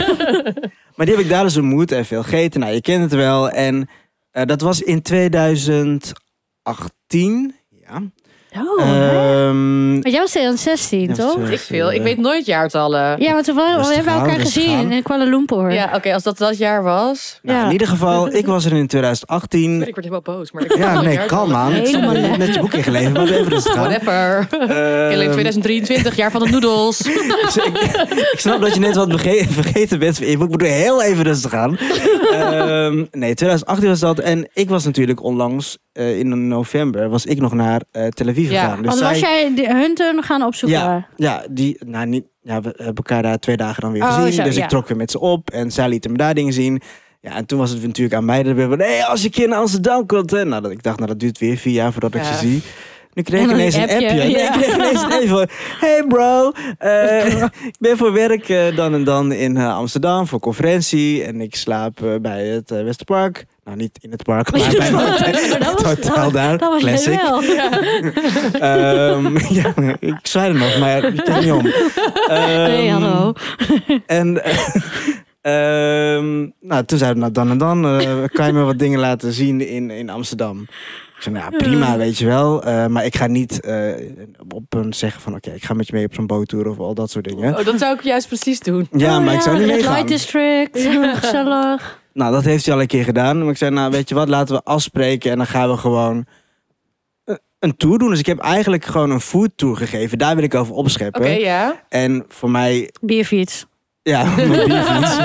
[SPEAKER 1] maar die heb ik daar dus ontmoet en veel gegeten. Nou, je kent het wel. En eh, dat was in 2018. Ja.
[SPEAKER 2] Oh,
[SPEAKER 1] Ehm,
[SPEAKER 2] maar jij was 2016,
[SPEAKER 1] ja,
[SPEAKER 2] toch?
[SPEAKER 1] sorry,
[SPEAKER 3] Ik veel, ik
[SPEAKER 1] eh,
[SPEAKER 3] weet nooit jaartallen.
[SPEAKER 2] Ja, want we, we
[SPEAKER 1] Rustig
[SPEAKER 2] hebben
[SPEAKER 1] aan,
[SPEAKER 2] elkaar
[SPEAKER 1] rustig
[SPEAKER 2] gezien
[SPEAKER 1] aan.
[SPEAKER 2] in Kuala Lumpur.
[SPEAKER 3] Ja, oké, als dat dat jaar was.
[SPEAKER 1] nou,
[SPEAKER 2] Ja.
[SPEAKER 1] In ieder geval, ik was er in 2018.
[SPEAKER 3] Ik word helemaal boos, maar ik
[SPEAKER 1] Ja, nee, kalm aan. Ik
[SPEAKER 2] Helemaal
[SPEAKER 1] heb net je boek ingeleverd, maar even rustig aan.
[SPEAKER 3] Whatever. Killing
[SPEAKER 1] Ehm,
[SPEAKER 3] 2023, jaar van de noedels.
[SPEAKER 1] ik, ik snap dat je net wat bege- vergeten bent van Evo. Ik moet er heel even rustig aan. Ehm, nee, 2018 was dat. En ik was natuurlijk onlangs, eh, in november, was ik nog naar eh, Tel Aviv
[SPEAKER 3] Ja,
[SPEAKER 1] gegaan. Dus
[SPEAKER 2] Want
[SPEAKER 1] zij-
[SPEAKER 2] was jij de- hun toen gaan opzoeken?
[SPEAKER 1] ja, ja, die, nou, niet, ja, we hebben elkaar daar twee dagen dan weer
[SPEAKER 2] Oh,
[SPEAKER 1] gezien.
[SPEAKER 2] zo,
[SPEAKER 1] dus
[SPEAKER 2] ja.
[SPEAKER 1] ik trok weer met ze op en zij lieten me daar dingen zien. Ja, en toen was het natuurlijk aan mij dat we van, hey, als je een keer naar Amsterdam komt. Hè. Nou, dat, ik dacht, nou, dat duurt weer vier jaar voordat ik
[SPEAKER 3] Ja.
[SPEAKER 1] ze zie. Nu kreeg
[SPEAKER 2] En
[SPEAKER 1] ik
[SPEAKER 2] dan
[SPEAKER 1] ineens een
[SPEAKER 2] een
[SPEAKER 1] appje.
[SPEAKER 2] appje,
[SPEAKER 1] Nee,
[SPEAKER 2] ja.
[SPEAKER 1] ik kreeg ineens een appje van, hey bro, eh, ik ben voor werk eh, dan en dan in eh, Amsterdam voor conferentie. En ik slaap eh, bij het eh, Westerpark. Nou, niet in het park, maar bij het hotel daar.
[SPEAKER 2] Dat was jij
[SPEAKER 1] Classic.
[SPEAKER 2] wel.
[SPEAKER 1] Ehm, ja, ik zei er nog, maar ik kijk niet om. Ehm,
[SPEAKER 2] Nee, hallo.
[SPEAKER 1] En eh, ehm, nou, toen zeiden we, nou, dan en dan eh, kan je me wat dingen laten zien in, in Amsterdam. Ik zei, nou ja, prima, weet je wel. eh, maar ik ga niet eh, op een zeggen van, oké, ik ga met je mee op zo'n boottour of al dat soort dingen.
[SPEAKER 3] Oh, dat zou ik juist precies doen.
[SPEAKER 1] Ja,
[SPEAKER 2] Oh
[SPEAKER 1] maar ik zou niet
[SPEAKER 2] Red
[SPEAKER 1] meegaan.
[SPEAKER 2] Light District, gezellig.
[SPEAKER 1] Nou, dat heeft hij al een keer gedaan. Maar ik zei, nou, weet je wat, laten we afspreken en dan gaan we gewoon eh, een tour doen. Dus ik heb eigenlijk gewoon een food tour gegeven. Daar wil ik over
[SPEAKER 3] Oké,
[SPEAKER 1] opscheppen.
[SPEAKER 3] ja.
[SPEAKER 1] En voor mij,
[SPEAKER 2] Bierfiets.
[SPEAKER 1] ja, mijn bierfiets.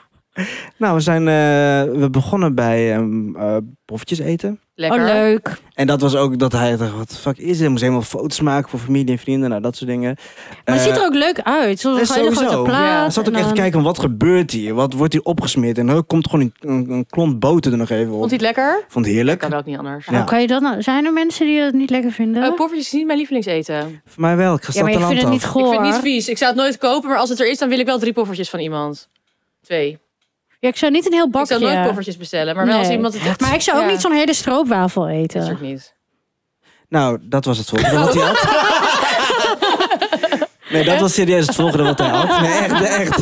[SPEAKER 1] nou, we zijn eh, we begonnen bij ehm eh, poffertjes eten.
[SPEAKER 3] Lekker.
[SPEAKER 2] Oh, leuk.
[SPEAKER 1] En dat was ook dat hij dacht, wat de fuck is dit? Hij moest helemaal foto's maken voor familie en vrienden, nou dat soort dingen.
[SPEAKER 2] Maar het
[SPEAKER 1] Eh,
[SPEAKER 2] ziet er ook leuk uit. Zo'n
[SPEAKER 1] eh,
[SPEAKER 2] hele grote
[SPEAKER 1] sowieso.
[SPEAKER 3] Ja,
[SPEAKER 2] plaat.
[SPEAKER 1] zat ook
[SPEAKER 2] en
[SPEAKER 1] echt te
[SPEAKER 2] dan-
[SPEAKER 1] kijken, wat gebeurt hier? Wat wordt hier opgesmeerd? En er komt gewoon een, een, een klont boter er nog even op.
[SPEAKER 3] Vond hij het lekker?
[SPEAKER 1] Vond het heerlijk.
[SPEAKER 3] Kan ook niet anders.
[SPEAKER 1] Ja.
[SPEAKER 2] Hoe kan je dat nou? Zijn er mensen die dat niet lekker vinden?
[SPEAKER 3] Oh, poffertjes is niet mijn lievelingseten.
[SPEAKER 1] Voor mij wel, ik ga
[SPEAKER 2] ja, maar
[SPEAKER 1] stad en
[SPEAKER 2] ik vind
[SPEAKER 1] land
[SPEAKER 2] het
[SPEAKER 1] af.
[SPEAKER 2] niet
[SPEAKER 3] Ik
[SPEAKER 2] goor.
[SPEAKER 3] vind het niet vies. Ik zou het nooit kopen, maar als het er is, dan wil ik wel drie poffertjes van iemand. Twee.
[SPEAKER 2] Ja, ik zou niet een heel
[SPEAKER 3] Ik
[SPEAKER 2] bakje.
[SPEAKER 3] zou nooit poffertjes bestellen, maar wel als
[SPEAKER 2] Nee.
[SPEAKER 3] iemand het...
[SPEAKER 2] Maar ik zou ook
[SPEAKER 3] Ja.
[SPEAKER 2] niet zo'n hele stroopwafel
[SPEAKER 3] Dat is ook
[SPEAKER 2] eten.
[SPEAKER 3] niet.
[SPEAKER 1] Nou, dat was het volgende wat hij had. Nee, dat was serieus het volgende wat hij had. Nee, echt, Eh, echt.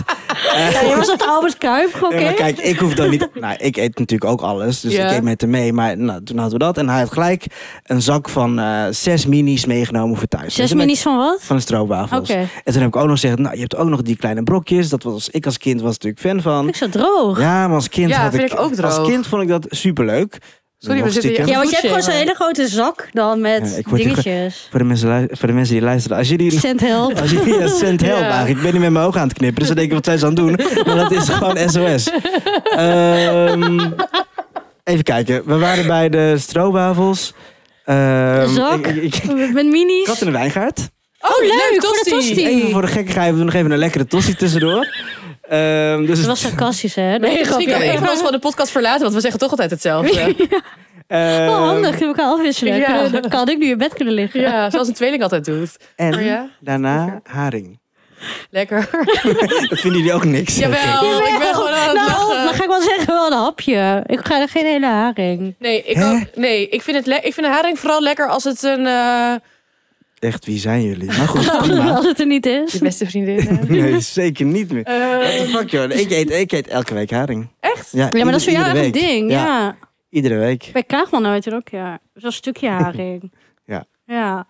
[SPEAKER 2] Ja, je was op de Albert Kuip, oké.
[SPEAKER 1] Nee, maar kijk, ik hoef dan niet. Nou, ik eet natuurlijk ook alles, dus
[SPEAKER 3] Ja.
[SPEAKER 1] ik eet met hem mee. Maar nou, toen hadden we dat en hij had gelijk een zak van eh, zes minis meegenomen voor thuis. Dus
[SPEAKER 2] Zes
[SPEAKER 1] toen heb ik-
[SPEAKER 2] minis van wat?
[SPEAKER 1] Van de stroopwafels.
[SPEAKER 2] Oké.
[SPEAKER 1] En toen heb ik ook nog gezegd, nou, je hebt ook nog die kleine brokjes. Dat was ik als kind was natuurlijk fan van.
[SPEAKER 2] Ik zo droog. Ja,
[SPEAKER 1] Ja, maar als kind
[SPEAKER 3] Ja,
[SPEAKER 1] had
[SPEAKER 3] vind ik ook droog.
[SPEAKER 1] Als kind vond ik dat superleuk.
[SPEAKER 3] Sorry,
[SPEAKER 1] Nog
[SPEAKER 3] we zitten hier
[SPEAKER 1] stiekem.
[SPEAKER 3] echt-
[SPEAKER 2] want je hebt gewoon
[SPEAKER 3] Goed,
[SPEAKER 2] zo'n
[SPEAKER 3] ja.
[SPEAKER 2] hele grote zak dan met
[SPEAKER 1] Ja, ik word hier ge-
[SPEAKER 2] dingetjes.
[SPEAKER 1] Voor de, mensen, lui- voor de mensen die luisteren, als jullie
[SPEAKER 2] Send help.
[SPEAKER 1] Als je ja, cent help
[SPEAKER 3] Ja.
[SPEAKER 1] eigenlijk. Ik ben niet met mijn ogen aan het knippen, dus dan denk ik wat zij is aan het doen. Maar dat is gewoon SOS. Ehm, even kijken. We waren bij de stroopwafels. Ehm,
[SPEAKER 2] Zak.
[SPEAKER 1] ik- ik- ik-
[SPEAKER 2] Met minis.
[SPEAKER 1] Kat in de wijngaard.
[SPEAKER 3] Oh,
[SPEAKER 2] leuk, voor de tosti.
[SPEAKER 1] Even voor de gekkigheid, we doen nog even een lekkere tossie tussendoor. Ehm, dus
[SPEAKER 2] Dat
[SPEAKER 1] het-
[SPEAKER 2] was sarcastisch, hè? Dat
[SPEAKER 3] Nee,
[SPEAKER 2] is
[SPEAKER 3] grapje.
[SPEAKER 2] grappig.
[SPEAKER 3] Ik ga ons gewoon de podcast verlaten, want we zeggen toch altijd hetzelfde.
[SPEAKER 1] ehm,
[SPEAKER 2] Wel handig, kunnen we elkaar afwisselen.
[SPEAKER 3] Ja.
[SPEAKER 2] Kunnen we- Dan kan ik nu in bed kunnen liggen.
[SPEAKER 3] ja, zoals een tweeling altijd doet.
[SPEAKER 1] En
[SPEAKER 3] Ja.
[SPEAKER 1] daarna haring.
[SPEAKER 3] Lekker.
[SPEAKER 1] Dat vinden jullie ook niks.
[SPEAKER 3] Jawel, ik ben gewoon aan het
[SPEAKER 2] nou,
[SPEAKER 3] lachen.
[SPEAKER 2] dan ga ik wel zeggen, wel een hapje. Ik ga er geen hele haring.
[SPEAKER 3] Nee, ik,
[SPEAKER 1] Hè?
[SPEAKER 3] ook, nee ik, vind het le- ik vind de haring vooral lekker als het een... eh,
[SPEAKER 1] Echt, wie zijn jullie? Maar goed, prima.
[SPEAKER 2] Als het er niet is.
[SPEAKER 3] beste vriendin. hè?
[SPEAKER 1] Nee, zeker niet meer. What
[SPEAKER 3] Eh,
[SPEAKER 1] the fuck, joh. Ik eet, ik eet elke week haring.
[SPEAKER 3] echt?
[SPEAKER 1] Ja,
[SPEAKER 2] Ja, maar dat is voor jou echt
[SPEAKER 1] iedere
[SPEAKER 2] een
[SPEAKER 1] week.
[SPEAKER 2] ding. Ja.
[SPEAKER 1] Iedere week.
[SPEAKER 2] Bij Kaagman nooit er ook, ja. Zo'n stukje haring.
[SPEAKER 1] Ja.
[SPEAKER 2] Ja.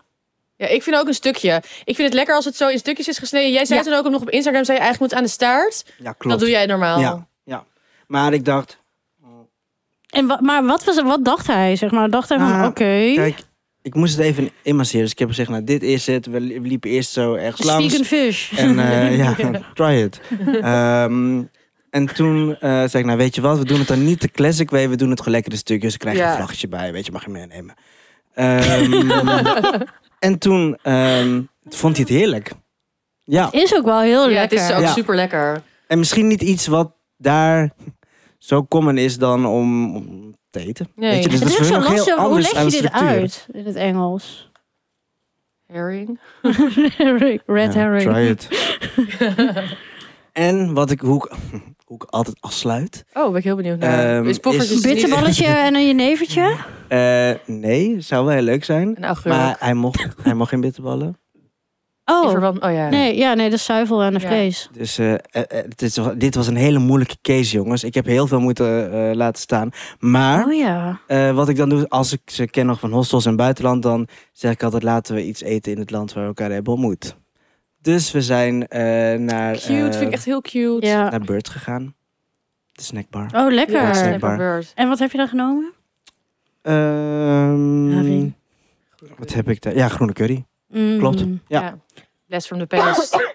[SPEAKER 3] Ja, ik vind ook een stukje. Ik vind het lekker als het zo in stukjes is gesneden. Jij zei
[SPEAKER 2] Ja.
[SPEAKER 3] toen ook nog op Instagram, zei je eigenlijk moet aan de staart.
[SPEAKER 1] Ja, klopt.
[SPEAKER 3] Dat doe jij normaal.
[SPEAKER 1] Ja, ja. Maar ik dacht,
[SPEAKER 2] En wa- maar wat, was, wat dacht hij, zeg maar? Dacht hij van,
[SPEAKER 1] Nou,
[SPEAKER 2] oké.
[SPEAKER 1] kijk, ik moest het even inmasseren. Dus ik heb gezegd, nou, dit is het. We li- we liepen eerst zo ergens
[SPEAKER 2] Vegan
[SPEAKER 1] langs.
[SPEAKER 2] fish.
[SPEAKER 1] En eh, ja, try it. Ehm, en toen eh, zei ik, nou, weet je wat? We doen het dan niet de classic way. We doen het gewoon lekker de stukjes. Dan krijg je
[SPEAKER 3] Ja.
[SPEAKER 1] een vlaggetje bij. Weet je, mag je meenemen. Ehm, en toen ehm, vond hij het heerlijk. Ja,
[SPEAKER 2] Is ook wel heel
[SPEAKER 3] Oh, Ja, het
[SPEAKER 2] lekker.
[SPEAKER 3] is ook
[SPEAKER 1] Ja.
[SPEAKER 3] super lekker.
[SPEAKER 1] en misschien niet iets wat daar zo common is dan om, om te eten.
[SPEAKER 3] Nee.
[SPEAKER 1] Weet je, dus
[SPEAKER 2] Het
[SPEAKER 1] dat
[SPEAKER 2] is
[SPEAKER 1] voor
[SPEAKER 2] ook zo
[SPEAKER 1] hun nog heel
[SPEAKER 2] lastig. Hoe
[SPEAKER 1] anders
[SPEAKER 2] leg
[SPEAKER 1] aan
[SPEAKER 2] je
[SPEAKER 1] de
[SPEAKER 2] dit
[SPEAKER 1] structuur.
[SPEAKER 2] uit in het Engels?
[SPEAKER 3] Herring.
[SPEAKER 2] Herring. Red
[SPEAKER 1] Ja,
[SPEAKER 2] herring.
[SPEAKER 1] Try it. en wat ik, hoe, ik, hoe ik altijd afsluit.
[SPEAKER 3] Oh, ben ik heel benieuwd naar.
[SPEAKER 1] Ehm,
[SPEAKER 3] is poffertjes
[SPEAKER 1] is-
[SPEAKER 2] Een
[SPEAKER 3] niet-
[SPEAKER 2] bitterballetje en een jenevertje.
[SPEAKER 1] Eh, nee, zou wel heel leuk zijn.
[SPEAKER 3] Een augurk.
[SPEAKER 1] Maar hij mocht, hij mocht geen bitterballen.
[SPEAKER 3] In
[SPEAKER 2] Oh,
[SPEAKER 3] verband- oh ja.
[SPEAKER 2] nee, ja, nee, dat is zuivel en een
[SPEAKER 3] Ja.
[SPEAKER 2] vlees.
[SPEAKER 1] Dus eh, eh, eh, het is, wel- dit was een hele moeilijke case, jongens. Ik heb heel veel moeten eh, laten staan. Maar
[SPEAKER 2] Oh ja.
[SPEAKER 1] eh, wat ik dan doe, als ik ze ken nog van hostels en buitenland... dan zeg ik altijd, laten we iets eten in het land waar we elkaar hebben ontmoet. Dus we zijn eh, naar,
[SPEAKER 3] Cute,
[SPEAKER 1] eh,
[SPEAKER 3] vind ik echt heel cute.
[SPEAKER 2] ja.
[SPEAKER 1] naar Beurt gegaan. De snackbar.
[SPEAKER 2] Oh, lekker.
[SPEAKER 1] Ja, snap.
[SPEAKER 2] En wat heb je dan genomen?
[SPEAKER 1] Ehm,
[SPEAKER 2] Haring.
[SPEAKER 1] Wat heb ik daar? Ja, groene curry.
[SPEAKER 2] Mm.
[SPEAKER 1] Klopt. Ja.
[SPEAKER 3] Ja. Les from the past.
[SPEAKER 1] Want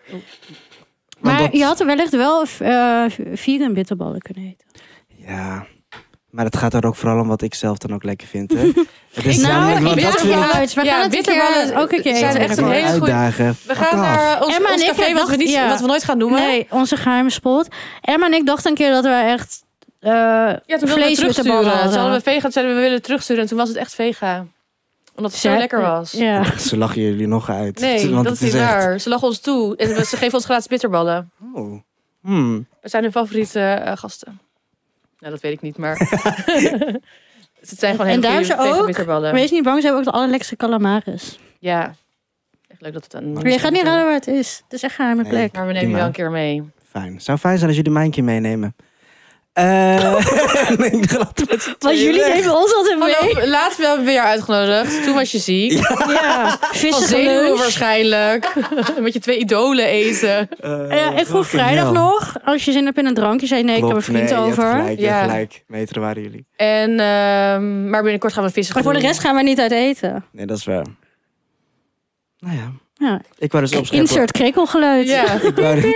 [SPEAKER 2] Maar
[SPEAKER 1] dat-
[SPEAKER 2] je had er wellicht wel eh vegan bitterballen kunnen eten.
[SPEAKER 1] Ja. Maar het gaat er ook vooral om wat ik zelf dan ook lekker vind. Hè? het is
[SPEAKER 3] Nou,
[SPEAKER 1] namelijk, want
[SPEAKER 3] ik
[SPEAKER 1] dat
[SPEAKER 3] weet
[SPEAKER 1] vind
[SPEAKER 3] het
[SPEAKER 1] ik
[SPEAKER 3] wel.
[SPEAKER 2] uit. We
[SPEAKER 3] Ja,
[SPEAKER 2] gaan het een
[SPEAKER 3] bitterballen
[SPEAKER 2] keer, ook een keer
[SPEAKER 3] zijn
[SPEAKER 2] eten.
[SPEAKER 3] echt een hele goeie-
[SPEAKER 1] uitdagen.
[SPEAKER 3] We
[SPEAKER 1] Fuck
[SPEAKER 3] gaan
[SPEAKER 1] off.
[SPEAKER 3] naar eh, ons,
[SPEAKER 2] Emma en
[SPEAKER 3] ons
[SPEAKER 2] ik
[SPEAKER 3] café, wat
[SPEAKER 2] dachten-
[SPEAKER 3] we, niet,
[SPEAKER 2] ja.
[SPEAKER 3] wat we nooit gaan noemen.
[SPEAKER 2] Nee, onze geheime spot. Emma en ik dachten een keer dat we echt eh
[SPEAKER 3] Ja, toen wilden we
[SPEAKER 2] vleesbitterballen
[SPEAKER 3] terugsturen. Toen
[SPEAKER 2] hadden.
[SPEAKER 3] hadden we vegan, toen zeiden we we willen terugsturen. En toen was het echt vega. Omdat het zo
[SPEAKER 2] Zij-
[SPEAKER 3] lekker was.
[SPEAKER 2] Ja.
[SPEAKER 1] Ze lachen jullie nog uit.
[SPEAKER 3] Nee,
[SPEAKER 1] Want
[SPEAKER 3] dat is
[SPEAKER 1] het
[SPEAKER 3] niet
[SPEAKER 1] echt-
[SPEAKER 3] waar. Ze lachen ons toe. En ze geven ons gratis bitterballen.
[SPEAKER 1] Oh. Hmm.
[SPEAKER 3] We zijn hun favoriete eh, gasten. Nou, dat weet ik niet, maar... het zijn gewoon
[SPEAKER 2] En
[SPEAKER 3] hele
[SPEAKER 2] daar
[SPEAKER 3] goede
[SPEAKER 2] hebben ze
[SPEAKER 3] vegan
[SPEAKER 2] ook-
[SPEAKER 3] bitterballen.
[SPEAKER 2] Wees niet bang, ze hebben ook de allerlekkerste
[SPEAKER 1] Oh,
[SPEAKER 2] calamaris.
[SPEAKER 3] Ja. Echt leuk dat het aan...
[SPEAKER 2] Maar je gaat niet raden waar het is. Het is echt een geheime
[SPEAKER 1] Nee.
[SPEAKER 2] plek.
[SPEAKER 3] Maar we nemen je
[SPEAKER 1] Prima.
[SPEAKER 3] wel een keer mee.
[SPEAKER 1] Fijn. Zou fijn zijn als jullie mijn keer meenemen. Eh nee, ik glad met z'n
[SPEAKER 2] Want
[SPEAKER 1] tweeën
[SPEAKER 2] jullie
[SPEAKER 1] weg.
[SPEAKER 2] nemen ons altijd mee.
[SPEAKER 3] Hallo, laatst hebben we jou uitgenodigd. Toen was je ziek.
[SPEAKER 2] Ja,
[SPEAKER 3] Van
[SPEAKER 2] vissige
[SPEAKER 3] zenuwen
[SPEAKER 2] lunch.
[SPEAKER 3] waarschijnlijk. Met je twee idolen eten.
[SPEAKER 1] Eh,
[SPEAKER 2] Ja, ik
[SPEAKER 1] fucking
[SPEAKER 2] vroeg vrijdag
[SPEAKER 1] hell.
[SPEAKER 2] nog, als je zin hebt in een drankje, zei je, nee, ik heb
[SPEAKER 1] Klopt,
[SPEAKER 2] een vriend
[SPEAKER 1] nee, je hebt
[SPEAKER 2] over.
[SPEAKER 1] Gelijk, je hebt
[SPEAKER 3] Ja.
[SPEAKER 1] gelijk. Meter waren jullie.
[SPEAKER 3] En, ehm, maar binnenkort gaan we vissen.
[SPEAKER 2] Maar voor de rest gaan wij niet uit eten.
[SPEAKER 1] Nee, dat is waar. Nou ja.
[SPEAKER 2] Ja.
[SPEAKER 1] Ik wou dus opscheppen.
[SPEAKER 2] Insert krekelgeluid.
[SPEAKER 3] Ja.
[SPEAKER 1] Ik wou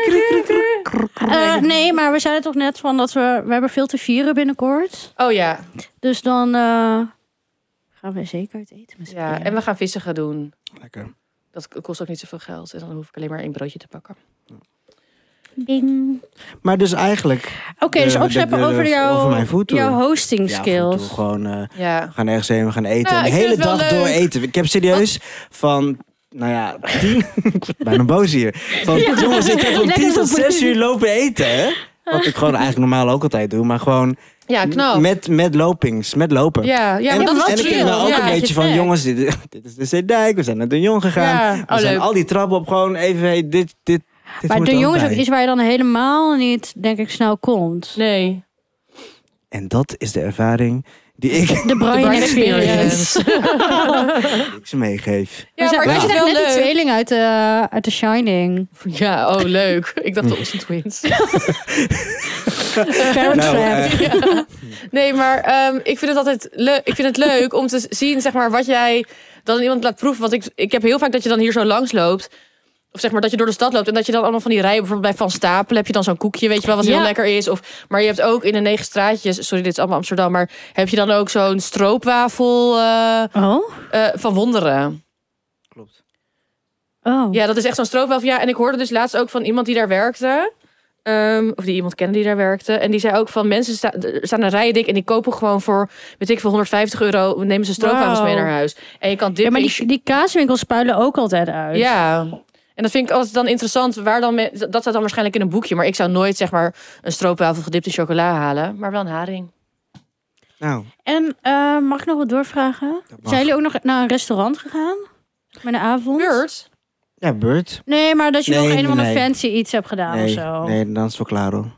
[SPEAKER 2] Eh, nee, maar we zeiden toch net van dat we, we hebben veel te vieren binnenkort.
[SPEAKER 3] Oh ja.
[SPEAKER 2] Dus dan eh, gaan we zeker uit eten met z'n
[SPEAKER 3] ja.
[SPEAKER 2] drieën.
[SPEAKER 3] En we gaan vissen gaan doen.
[SPEAKER 1] Lekker.
[SPEAKER 3] Dat k- kost ook niet zoveel geld. En dan hoef ik alleen maar één broodje te pakken.
[SPEAKER 2] Ding.
[SPEAKER 1] Maar dus eigenlijk...
[SPEAKER 2] Oké, dus
[SPEAKER 1] de- de-
[SPEAKER 2] opscheppen
[SPEAKER 1] de-
[SPEAKER 2] over
[SPEAKER 1] de-
[SPEAKER 2] jouw,
[SPEAKER 1] Eh, over mijn voet,
[SPEAKER 2] jouw
[SPEAKER 1] hoor.
[SPEAKER 2] hosting
[SPEAKER 1] Ja, af en
[SPEAKER 2] skills.
[SPEAKER 1] toe gewoon... eh,
[SPEAKER 3] Ja.
[SPEAKER 1] we gaan ergens heen, we gaan eten.
[SPEAKER 3] Nou,
[SPEAKER 1] en de
[SPEAKER 3] ik vind
[SPEAKER 1] hele
[SPEAKER 3] het wel
[SPEAKER 1] dag door
[SPEAKER 3] leuk.
[SPEAKER 1] eten. Ik heb serieus van... Nou ja, tien... ik word bijna boos hier. Van, jongens, ik heb van
[SPEAKER 2] Lekker
[SPEAKER 1] tien tot
[SPEAKER 2] zo
[SPEAKER 1] zes
[SPEAKER 2] voor-
[SPEAKER 1] uur lopen eten, hè? Wat ik gewoon eigenlijk normaal ook altijd doe. Maar gewoon
[SPEAKER 3] Ja, knap.
[SPEAKER 1] met, met lopings, met lopen.
[SPEAKER 3] Ja, ja,
[SPEAKER 1] en
[SPEAKER 3] maar dat
[SPEAKER 2] was
[SPEAKER 1] en
[SPEAKER 3] is
[SPEAKER 1] ik
[SPEAKER 3] chill.
[SPEAKER 1] ben wel ook
[SPEAKER 3] Ja.
[SPEAKER 1] een beetje van,
[SPEAKER 2] vet.
[SPEAKER 1] jongens, dit, dit is de Zeedijk. We zijn naar de Jong gegaan.
[SPEAKER 3] Ja.
[SPEAKER 1] We
[SPEAKER 3] Oh,
[SPEAKER 1] zijn
[SPEAKER 3] leuk.
[SPEAKER 1] al die trappen op gewoon even, hey, dit, dit, Dit
[SPEAKER 2] maar
[SPEAKER 1] hoort
[SPEAKER 2] de
[SPEAKER 1] er ook
[SPEAKER 2] jongen is ook
[SPEAKER 1] bij.
[SPEAKER 2] iets waar je dan helemaal niet, denk ik, snel komt.
[SPEAKER 3] Nee.
[SPEAKER 1] En dat is de ervaring die ik
[SPEAKER 2] De Brian,
[SPEAKER 3] Brian
[SPEAKER 2] Experience.
[SPEAKER 3] Experience.
[SPEAKER 1] ze meegeef.
[SPEAKER 2] Ja, maar
[SPEAKER 1] ik
[SPEAKER 2] ik
[SPEAKER 1] vind
[SPEAKER 2] is net die tweeling uit, eh, uit The Shining.
[SPEAKER 3] Ja, oh leuk. Ik dacht Olsen Twins.
[SPEAKER 2] Parent
[SPEAKER 1] Nou,
[SPEAKER 2] Trap.
[SPEAKER 3] Ja. Nee, maar ehm, ik vind het altijd leuk. Ik vind het leuk om te zien, zeg maar, wat jij dan aan iemand laat proeven. Want ik, ik heb heel vaak dat je dan hier zo langs loopt. Of zeg maar dat je door de stad loopt en dat je dan allemaal van die rijen, bijvoorbeeld bij Van Stapel heb je dan zo'n koekje, weet je wel, wat
[SPEAKER 2] Ja.
[SPEAKER 3] heel lekker is. Of, maar je hebt ook in de negen straatjes, sorry, dit is allemaal Amsterdam, maar heb je dan ook zo'n stroopwafel eh,
[SPEAKER 2] Oh?
[SPEAKER 3] eh, van Wonderen?
[SPEAKER 1] Klopt.
[SPEAKER 2] Oh.
[SPEAKER 3] Ja, dat is echt zo'n stroopwafel. Ja, en ik hoorde dus laatst ook van iemand die daar werkte. ehm, of die iemand kende die daar werkte. En die zei ook van mensen sta- er staan een rij dik en die kopen gewoon voor, weet ik veel, 150 euro. Nemen ze stroopwafels
[SPEAKER 2] Wauw.
[SPEAKER 3] mee naar huis. En je kan dit.
[SPEAKER 2] Ja, maar die, die kaaswinkels spuilen ook altijd uit.
[SPEAKER 3] Ja. En dat vind ik altijd dan interessant. Waar dan me- dat staat dan waarschijnlijk in een boekje. Maar ik zou nooit zeg maar een stroopwafel gedipt in chocola halen. Maar wel een haring.
[SPEAKER 1] Nou,
[SPEAKER 2] En eh, mag ik nog wat doorvragen?
[SPEAKER 1] dat mag.
[SPEAKER 2] Zijn jullie ook nog naar een restaurant gegaan? Met een avond?
[SPEAKER 3] Beurt.
[SPEAKER 1] Ja, Bert.
[SPEAKER 2] Nee, maar dat je
[SPEAKER 1] Nee,
[SPEAKER 2] nog een of ander
[SPEAKER 1] nee.
[SPEAKER 2] fancy iets hebt gedaan
[SPEAKER 1] Nee,
[SPEAKER 2] of zo.
[SPEAKER 1] nee, dan is het wel klaar hoor.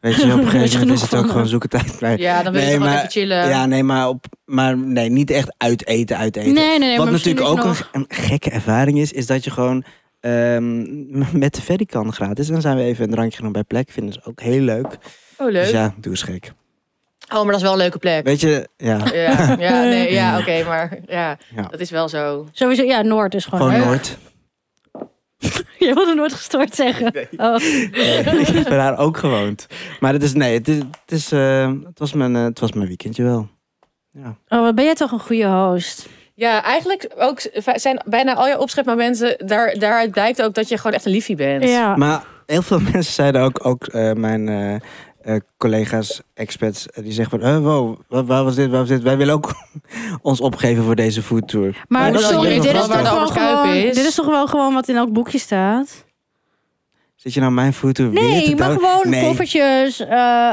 [SPEAKER 1] Weet je, op een
[SPEAKER 2] Weet
[SPEAKER 1] gegeven
[SPEAKER 2] je
[SPEAKER 1] moment
[SPEAKER 2] genoeg
[SPEAKER 1] is het
[SPEAKER 2] van
[SPEAKER 1] ook
[SPEAKER 2] me.
[SPEAKER 1] gewoon zoeken tijd. Nee.
[SPEAKER 3] Ja, dan wil
[SPEAKER 1] Nee,
[SPEAKER 3] je gewoon
[SPEAKER 1] maar-
[SPEAKER 3] even chillen.
[SPEAKER 1] Ja, nee, maar, op, maar nee, niet echt uit eten, uit eten.
[SPEAKER 2] nee, nee.
[SPEAKER 1] Wat
[SPEAKER 2] maar misschien
[SPEAKER 1] natuurlijk ook
[SPEAKER 2] is
[SPEAKER 1] een,
[SPEAKER 2] nog-
[SPEAKER 1] een gekke ervaring is, is dat je gewoon ehm, met de ferry kan gratis. En dan zijn we even een drankje genomen bij plek. Vinden ze ook heel leuk.
[SPEAKER 3] Oh, leuk.
[SPEAKER 1] Dus ja, doe eens gek.
[SPEAKER 3] Oh, maar dat is wel een leuke plek.
[SPEAKER 1] Weet je,
[SPEAKER 2] Oh,
[SPEAKER 1] ja,
[SPEAKER 3] Ja, ja, nee, ja oké, maar ja,
[SPEAKER 1] Ja.
[SPEAKER 3] dat is wel zo.
[SPEAKER 2] Sowieso, ja, Noord is gewoon...
[SPEAKER 1] gewoon
[SPEAKER 3] leuk.
[SPEAKER 1] Noord.
[SPEAKER 2] Je wilde Noord gestoord zeggen. Oh.
[SPEAKER 1] ik heb daar ook gewoond. Maar het is, nee, het, is, het, is, eh, het, was mijn, eh, het was mijn weekendje wel. Ja.
[SPEAKER 2] oh, wat ben jij toch een goede host.
[SPEAKER 3] Ja, eigenlijk ook v- zijn bijna al je opschepmomenten, daar, daaruit blijkt ook dat je gewoon echt een liefie bent.
[SPEAKER 2] Ja.
[SPEAKER 1] Maar heel veel mensen zeiden ook, ook eh, mijn eh, eh, collega's, experts, eh, die zeggen van, eh, wow, wa- waar was dit, waar was dit? Wij willen ook ons opgeven voor deze foodtour.
[SPEAKER 2] Maar
[SPEAKER 1] Maar dat
[SPEAKER 2] sorry,
[SPEAKER 1] is
[SPEAKER 2] dit is,
[SPEAKER 1] wel waar
[SPEAKER 2] toch
[SPEAKER 1] de
[SPEAKER 2] wel
[SPEAKER 3] overschuip
[SPEAKER 2] gewoon,
[SPEAKER 3] is.
[SPEAKER 2] dit is toch wel gewoon wat in elk boekje staat?
[SPEAKER 1] Zit je nou mijn foodtour weer
[SPEAKER 2] Nee,
[SPEAKER 1] te
[SPEAKER 2] maar
[SPEAKER 1] down-
[SPEAKER 2] gewoon
[SPEAKER 1] Nee.
[SPEAKER 2] koffertjes. eh,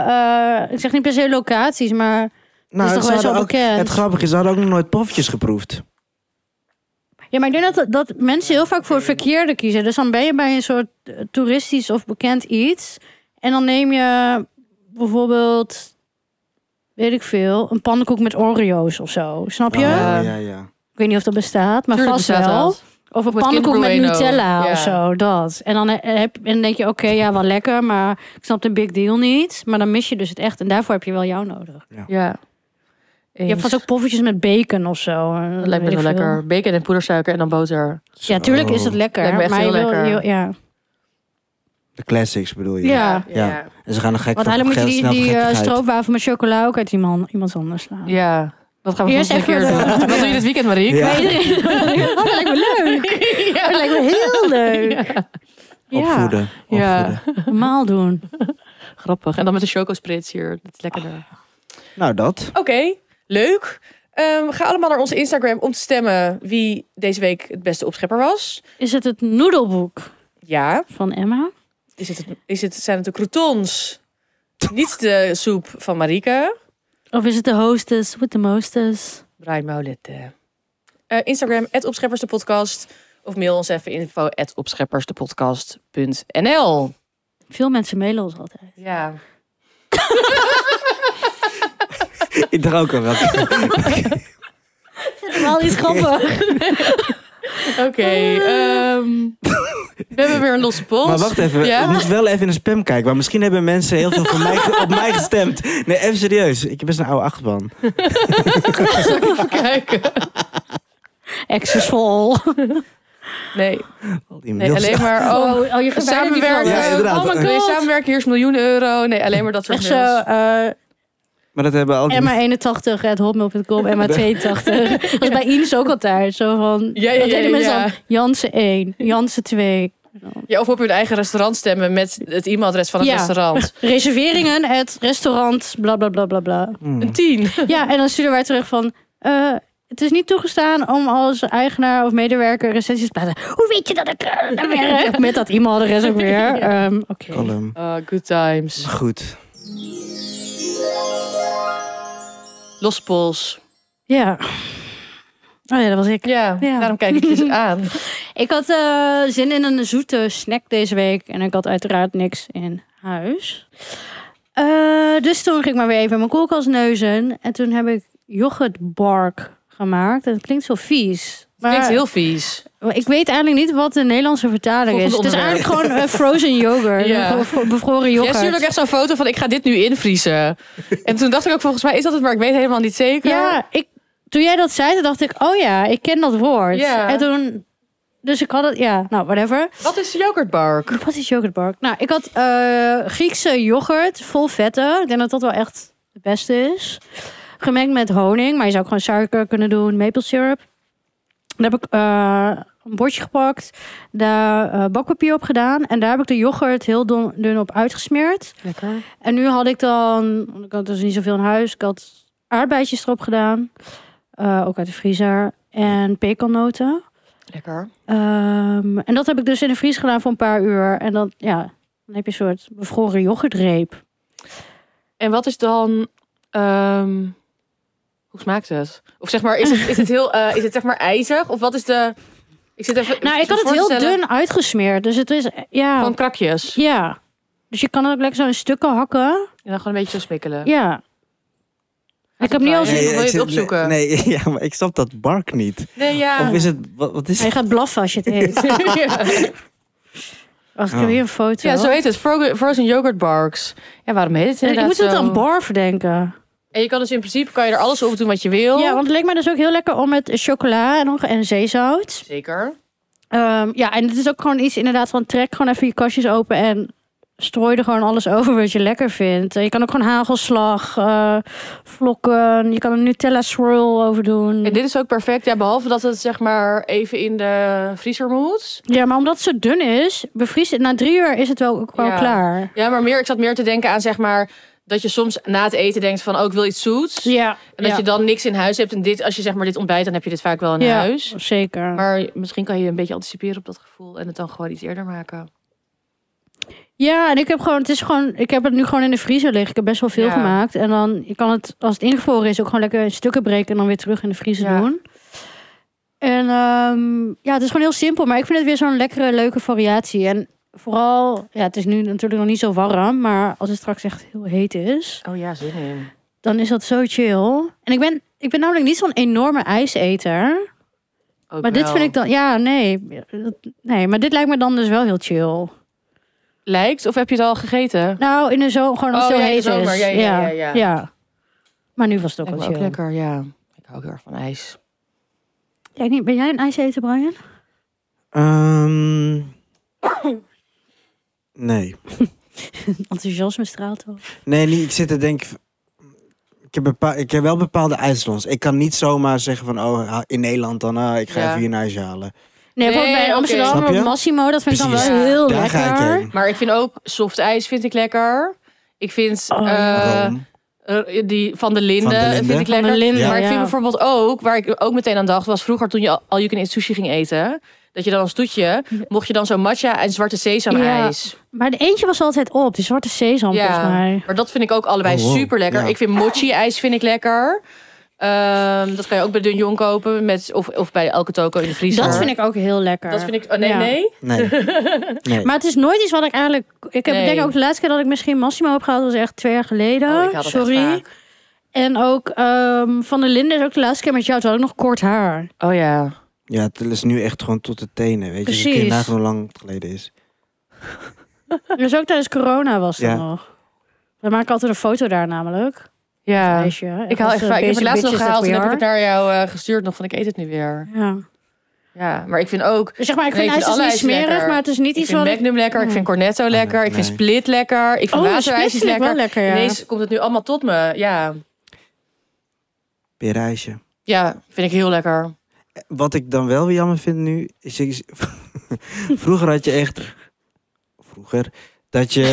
[SPEAKER 2] eh, ik zeg niet per se locaties, maar
[SPEAKER 1] Nou,
[SPEAKER 2] dat is
[SPEAKER 1] ze
[SPEAKER 2] toch wel
[SPEAKER 1] hadden
[SPEAKER 2] zo
[SPEAKER 1] ook-
[SPEAKER 2] bekend.
[SPEAKER 1] Het grappige is, ze hadden ook nog nooit poffertjes geproefd.
[SPEAKER 2] Ja, maar ik denk dat, dat mensen heel vaak voor het verkeerde kiezen. Dus dan ben je bij een soort eh, toeristisch of bekend iets. En dan neem je bijvoorbeeld, weet ik veel, een pannenkoek met Oreo's of zo. Snap je?
[SPEAKER 1] Oh, ja, ja, ja.
[SPEAKER 2] Ik weet niet of dat bestaat, maar
[SPEAKER 3] Tuurlijk
[SPEAKER 2] vast
[SPEAKER 3] bestaat
[SPEAKER 2] wel.
[SPEAKER 3] dat.
[SPEAKER 2] Of een
[SPEAKER 3] Met
[SPEAKER 2] pannenkoek
[SPEAKER 3] Kinder
[SPEAKER 2] met
[SPEAKER 3] Bueno.
[SPEAKER 2] Nutella
[SPEAKER 3] Ja.
[SPEAKER 2] of zo, dat. En dan, eh, heb, en dan denk je, oké, ja, wel lekker, maar ik snap de big deal niet. Maar dan mis je dus het echt. En daarvoor heb je wel jou nodig.
[SPEAKER 3] Ja.
[SPEAKER 2] Je hebt vast ook poffertjes met bacon of zo. eh,
[SPEAKER 3] dat lijkt me
[SPEAKER 2] weet
[SPEAKER 3] wel
[SPEAKER 2] ik veel.
[SPEAKER 3] lekker. Bacon en poedersuiker en dan boter.
[SPEAKER 2] Ja, tuurlijk is
[SPEAKER 1] Zo.
[SPEAKER 2] het lekker.
[SPEAKER 3] Lijkt me echt
[SPEAKER 2] maar je
[SPEAKER 3] heel
[SPEAKER 2] wil-
[SPEAKER 3] lekker.
[SPEAKER 2] je- ja.
[SPEAKER 1] De classics bedoel je?
[SPEAKER 2] Ja.
[SPEAKER 1] Ja. En ze gaan nog gek
[SPEAKER 2] Want
[SPEAKER 1] van geld
[SPEAKER 2] eigenlijk moet je die,
[SPEAKER 1] snel van
[SPEAKER 2] die eh,
[SPEAKER 1] gekkigheid.
[SPEAKER 2] stroopwafel met chocola ook uit iemand, iemand anders slaan.
[SPEAKER 3] Ja. Dat gaan we
[SPEAKER 2] Eerst
[SPEAKER 3] volgende een keer
[SPEAKER 2] even
[SPEAKER 3] doen.
[SPEAKER 2] de-
[SPEAKER 3] Wat doe je dit weekend, Marie?
[SPEAKER 1] Ja.
[SPEAKER 2] Bij iedereen. Oh, dat lijkt me leuk. Dat lijkt me heel leuk. Ja,
[SPEAKER 1] Opvoeden.
[SPEAKER 3] Ja.
[SPEAKER 1] opvoeden.
[SPEAKER 2] normaal doen.
[SPEAKER 3] Grappig. En dan met de chocosprits hier. Dat is lekkerder.
[SPEAKER 1] Nou, dat.
[SPEAKER 3] Oké, leuk. Ehm, ga allemaal naar onze Instagram om te stemmen wie deze week het beste opschepper was.
[SPEAKER 2] Is het het noedelboek
[SPEAKER 3] Ja.
[SPEAKER 2] van Emma?
[SPEAKER 3] Is het, is het, zijn het de croutons? Niet de soep van Marieke.
[SPEAKER 2] Of is het de hostess with the mostess?
[SPEAKER 3] Brian Maulet. eh, Instagram, @opscheppersdepodcast Opscheppers de Podcast. Of mail ons even info, at opscheppersdepodcast.nl.
[SPEAKER 2] Veel mensen mailen ons altijd.
[SPEAKER 3] Ja.
[SPEAKER 1] Ik dacht ook al wel.
[SPEAKER 2] Al iets grappig.
[SPEAKER 3] Oké.
[SPEAKER 2] Eh.
[SPEAKER 3] ehm, we hebben weer een losse pols.
[SPEAKER 1] Maar wacht even,
[SPEAKER 3] Ja?
[SPEAKER 1] ik moest wel even in de spam kijken. Maar misschien hebben mensen heel veel van mij, ge- op mij gestemd. Nee, even serieus. Ik heb best een oude achtbaan.
[SPEAKER 3] Even kijken.
[SPEAKER 2] Accessvol.
[SPEAKER 3] Nee,
[SPEAKER 1] Al die
[SPEAKER 3] nee
[SPEAKER 1] mails.
[SPEAKER 3] alleen maar... Oh,
[SPEAKER 2] Oh, oh, je verwijdert die
[SPEAKER 3] samenwerken.
[SPEAKER 2] van.
[SPEAKER 1] Ja, inderdaad.
[SPEAKER 2] Oh my
[SPEAKER 3] nee,
[SPEAKER 2] god.
[SPEAKER 3] samenwerken, hier is miljoen euro. Nee, alleen maar dat soort
[SPEAKER 2] Echt zo,
[SPEAKER 3] mails.
[SPEAKER 2] eh
[SPEAKER 1] Maar dat hebben al die...
[SPEAKER 2] Emma 81 at hotmail.com, Emma 82. Dat is bij Ines ook altijd. Zo van,
[SPEAKER 3] Ja, ja,
[SPEAKER 2] dat deden
[SPEAKER 3] ja,
[SPEAKER 2] mensen
[SPEAKER 3] ja.
[SPEAKER 2] dan Jansen 1, Jansen 2.
[SPEAKER 3] Ja, of op hun eigen restaurant stemmen met het e-mailadres van het
[SPEAKER 2] Ja.
[SPEAKER 3] restaurant.
[SPEAKER 2] Reserveringen, het restaurant, bla bla bla bla bla.
[SPEAKER 1] Hmm.
[SPEAKER 3] Een tien.
[SPEAKER 2] Ja, en dan sturen wij terug van... eh, het is niet toegestaan om als eigenaar of medewerker recensies te plaatsen. Hoe weet je dat ik eh, daar werk? Met dat e-mailadres ook weer. Ehm, Oké.
[SPEAKER 1] Column.
[SPEAKER 3] Ah, good times.
[SPEAKER 1] Goed.
[SPEAKER 3] Losse pols.
[SPEAKER 2] Ja. Oh ja, dat was ik.
[SPEAKER 3] Ja,
[SPEAKER 2] Ja.
[SPEAKER 3] daarom kijk ik je dus aan.
[SPEAKER 2] Ik had eh, zin in een zoete snack deze week. En ik had uiteraard niks in huis. Eh, dus toen ging ik maar weer even in mijn koelkast neuzen. En toen heb ik yoghurtbark gemaakt. Dat klinkt zo vies. Maar
[SPEAKER 3] Klinkt heel vies.
[SPEAKER 2] ik weet eigenlijk niet wat de Nederlandse vertaling is.
[SPEAKER 3] Volgend
[SPEAKER 2] Het is
[SPEAKER 3] onderwerp.
[SPEAKER 2] eigenlijk gewoon eh, frozen yoghurt.
[SPEAKER 3] Ja.
[SPEAKER 2] Bevro- Bevroren
[SPEAKER 3] Jij stuurde ook
[SPEAKER 2] yoghurt.
[SPEAKER 3] echt zo'n foto van ik ga dit nu invriezen. En toen dacht ik ook volgens mij is dat het, maar ik weet helemaal niet zeker.
[SPEAKER 2] Ja, ik, toen jij dat zei, toen dacht ik, oh ja, ik ken dat woord.
[SPEAKER 3] Ja.
[SPEAKER 2] En toen, dus ik had het, ja, nou, whatever.
[SPEAKER 3] Wat is yoghurtbark?
[SPEAKER 2] Wat is yoghurtbark? Nou, ik had eh, Griekse yoghurt vol vetten. Ik denk dat dat wel echt het beste is. Gemengd met honing, maar je zou ook gewoon suiker kunnen doen, maple syrup. Daar heb ik eh, een bordje gepakt, daar eh, bakpapier op gedaan. En daar heb ik de yoghurt heel dun, dun op uitgesmeerd.
[SPEAKER 3] Lekker.
[SPEAKER 2] En nu had ik dan, want ik had dus niet zoveel in huis, ik had aardbeidjes erop gedaan. eh, ook uit de vriezer. En pekannoten.
[SPEAKER 3] Lekker.
[SPEAKER 2] Ehm, en dat heb ik dus in de vries gedaan voor een paar uur. En dan, ja, dan heb je een soort bevroren yoghurtreep.
[SPEAKER 3] En wat is dan... ehm, hoe smaakt het? Of zeg maar, is het, is het heel... eh, is het zeg maar ijzig? Of wat is de... Ik zit even...
[SPEAKER 2] Nou, ik
[SPEAKER 3] voor
[SPEAKER 2] had het
[SPEAKER 3] te
[SPEAKER 2] heel
[SPEAKER 3] stellen.
[SPEAKER 2] dun uitgesmeerd. Dus het is, eh, ja.
[SPEAKER 3] Gewoon krakjes.
[SPEAKER 2] ja. Dus je kan het ook lekker zo in stukken hakken.
[SPEAKER 3] En dan gewoon een beetje zo smikkelen.
[SPEAKER 2] Ja. Ik heb
[SPEAKER 3] het
[SPEAKER 2] nu al zin.
[SPEAKER 3] bij, hè? wil je
[SPEAKER 1] ik
[SPEAKER 3] het
[SPEAKER 1] zit-
[SPEAKER 3] opzoeken? Ah.
[SPEAKER 1] Nee, nee, ja, maar ik snap dat bark niet.
[SPEAKER 3] Nee, ja.
[SPEAKER 1] Of is het... Wat, wat is
[SPEAKER 2] Hij gaat blaffen als je het eet.
[SPEAKER 3] ja.
[SPEAKER 2] Wacht, ik heb hier een foto.
[SPEAKER 3] Ja, zo heet het. Fro- Frozen yoghurt barks. Ja, waarom heet het
[SPEAKER 2] En ik
[SPEAKER 3] inderdaad
[SPEAKER 2] moet het
[SPEAKER 3] zo?
[SPEAKER 2] aan bar verdenken.
[SPEAKER 3] En je kan dus in principe kan je er alles op doen wat je wil.
[SPEAKER 2] Ja, want het leek mij dus ook heel lekker om met chocola en, nog- en zeezout.
[SPEAKER 3] Zeker.
[SPEAKER 2] Ehm, ja, en het is ook gewoon iets inderdaad van trek gewoon even je kastjes open en strooi er gewoon alles over wat je lekker vindt. Eh, Je kan ook gewoon hagelslag, eh, vlokken, je kan een Nutella swirl over doen.
[SPEAKER 3] En dit is ook perfect. Ja, behalve dat het zeg maar even in de vriezer moet.
[SPEAKER 2] Ja, maar omdat het zo dun is, bevries het. Na drie uur is het wel, ook wel
[SPEAKER 3] Ja.
[SPEAKER 2] klaar.
[SPEAKER 3] Ja, maar meer, ik zat meer te denken aan zeg maar dat je soms na het eten denkt van oh, ik wil iets zoets.
[SPEAKER 2] Ja,
[SPEAKER 3] En dat
[SPEAKER 2] ja,
[SPEAKER 3] je dan niks in huis hebt. En dit, als je zeg maar dit ontbijt, dan heb je dit vaak wel in
[SPEAKER 2] Ja.
[SPEAKER 3] huis.
[SPEAKER 2] zeker.
[SPEAKER 3] Maar misschien kan je een beetje anticiperen op dat gevoel en het dan gewoon iets eerder maken.
[SPEAKER 2] Ja, en ik heb gewoon, het is gewoon, ik heb het nu gewoon in de vriezer liggen. Ik heb best wel veel
[SPEAKER 3] Ja.
[SPEAKER 2] gemaakt. En dan, je kan het, als het ingevroren is, ook gewoon lekker in stukken breken en dan weer terug in de vriezer
[SPEAKER 3] Ja.
[SPEAKER 2] doen. En ehm, ja, het is gewoon heel simpel, maar ik vind het weer zo'n lekkere, leuke variatie. En vooral, ja, het is nu natuurlijk nog niet zo warm, maar als het straks echt heel heet is,
[SPEAKER 3] Oh ja, zin in.
[SPEAKER 2] dan is dat zo chill. En ik ben, ik ben namelijk niet zo'n enorme ijseter.
[SPEAKER 3] Ook
[SPEAKER 2] Maar dit
[SPEAKER 3] wel.
[SPEAKER 2] vind ik dan, ja, nee, dat- nee, maar dit lijkt me dan dus wel heel chill.
[SPEAKER 3] Lijkt of heb je het al gegeten?
[SPEAKER 2] Nou, in de zomer, gewoon als
[SPEAKER 3] Oh,
[SPEAKER 2] het heel
[SPEAKER 3] ja, in de
[SPEAKER 2] heet
[SPEAKER 3] zomer.
[SPEAKER 2] is.
[SPEAKER 3] Ja, ja, ja, ja.
[SPEAKER 2] Maar nu was het ook
[SPEAKER 3] Lijkt
[SPEAKER 2] wel
[SPEAKER 3] me ook
[SPEAKER 2] chill.
[SPEAKER 3] lekker, ja. Ik hou ook heel erg van ijs.
[SPEAKER 2] Ja, ik niet. Ben jij een ijseter, Brian?
[SPEAKER 1] Ehm, nee.
[SPEAKER 2] Enthousiasme straalt wel.
[SPEAKER 1] Nee, niet, ik zit te denken... Ik heb, bepaal, ik heb wel bepaalde ijslands. Ik kan niet zomaar zeggen van... Oh, ha- in Nederland dan... ah, ik ga
[SPEAKER 3] Ja.
[SPEAKER 1] even hier een ijsje halen.
[SPEAKER 2] Nee,
[SPEAKER 3] Nee,
[SPEAKER 2] bijvoorbeeld bij
[SPEAKER 3] oké.
[SPEAKER 2] Amsterdam
[SPEAKER 1] Snap je?
[SPEAKER 2] op Massimo, dat vind ik dan
[SPEAKER 1] Precies.
[SPEAKER 2] wel heel
[SPEAKER 1] Daar
[SPEAKER 2] lekker.
[SPEAKER 1] ga ik heen.
[SPEAKER 3] Maar ik vind ook soft ijs vind ik lekker. Ik vind
[SPEAKER 2] Oh,
[SPEAKER 3] eh,
[SPEAKER 1] Room.
[SPEAKER 3] eh, die van de Linden,
[SPEAKER 1] Van de Linden.
[SPEAKER 3] vind ik
[SPEAKER 2] Van de
[SPEAKER 3] lekker.
[SPEAKER 2] Linden,
[SPEAKER 3] maar ik vind
[SPEAKER 2] ja.
[SPEAKER 3] bijvoorbeeld ook, waar ik ook meteen aan dacht, was vroeger toen je al al je kan eat sushi ging eten, dat je dan als toetje mocht je dan zo'n matcha en zwarte sesam
[SPEAKER 2] Ja.
[SPEAKER 3] ijs.
[SPEAKER 2] Maar de eentje was altijd op. Die zwarte sesam, volgens mij.
[SPEAKER 3] maar dat vind ik ook allebei
[SPEAKER 1] Oh, wow.
[SPEAKER 3] super lekker.
[SPEAKER 1] Ja.
[SPEAKER 3] Ik vind mochi ijs vind ik lekker. Ehm, dat kan je ook bij de Jong kopen met, of, of bij elke toko in de vriezer.
[SPEAKER 2] Dat vind ik ook heel lekker.
[SPEAKER 3] Dat vind ik. Oh, nee,
[SPEAKER 2] Ja.
[SPEAKER 3] nee.
[SPEAKER 1] Nee. nee.
[SPEAKER 2] Maar het is nooit iets wat ik eigenlijk... Ik heb
[SPEAKER 3] Nee.
[SPEAKER 2] denk ik ook de laatste keer dat ik misschien Massimo heb gehaald... was echt twee jaar
[SPEAKER 3] Oh,
[SPEAKER 2] geleden.
[SPEAKER 3] ik haal dat echt
[SPEAKER 2] Sorry.
[SPEAKER 3] vaak.
[SPEAKER 2] En ook ehm, Van der Linden is ook de laatste keer met jou. Toen had ik nog kort haar.
[SPEAKER 3] Oh ja.
[SPEAKER 1] Ja, het is nu echt gewoon tot de tenen. Weet je, dus kun je
[SPEAKER 2] Precies.
[SPEAKER 1] nagaan hoe lang het geleden is.
[SPEAKER 2] Dus ook tijdens corona was dat
[SPEAKER 1] Ja.
[SPEAKER 2] nog. We maken altijd een foto daar namelijk.
[SPEAKER 3] Ja.
[SPEAKER 2] Meisje, hè?
[SPEAKER 3] Ik, haal
[SPEAKER 2] was,
[SPEAKER 3] echt
[SPEAKER 2] eh,
[SPEAKER 3] vaak. Ik heb
[SPEAKER 2] basic
[SPEAKER 3] het laatst nog
[SPEAKER 2] bitches
[SPEAKER 3] gehaald en
[SPEAKER 2] that
[SPEAKER 3] heb
[SPEAKER 2] we
[SPEAKER 3] ik het naar jou eh, gestuurd nog van ik eet het nu weer.
[SPEAKER 2] are. Ja.
[SPEAKER 3] Ja, maar ik vind ook...
[SPEAKER 2] Dus zeg maar, ik
[SPEAKER 3] Nee,
[SPEAKER 2] vind
[SPEAKER 3] ik vind
[SPEAKER 2] ijs
[SPEAKER 3] alle
[SPEAKER 2] is niet
[SPEAKER 3] ijs
[SPEAKER 2] smerig,
[SPEAKER 3] lekker.
[SPEAKER 2] maar het is niet
[SPEAKER 3] Ik
[SPEAKER 2] iets
[SPEAKER 3] vind
[SPEAKER 2] wat...
[SPEAKER 3] Magnum lekker, ik vind Cornetto lekker, ik vind
[SPEAKER 1] Oh, nee.
[SPEAKER 3] Split lekker, ik vind
[SPEAKER 2] Oh,
[SPEAKER 3] waterijs
[SPEAKER 2] split
[SPEAKER 3] is
[SPEAKER 2] vind ik
[SPEAKER 3] lekker.
[SPEAKER 2] wel lekker, ja.
[SPEAKER 3] Ineens komt het nu allemaal tot me, ja.
[SPEAKER 1] Perijsje.
[SPEAKER 3] Ja, vind ik heel lekker.
[SPEAKER 1] Wat ik dan wel weer jammer vind nu, is... is- vroeger had je echt... Vroeger. Dat je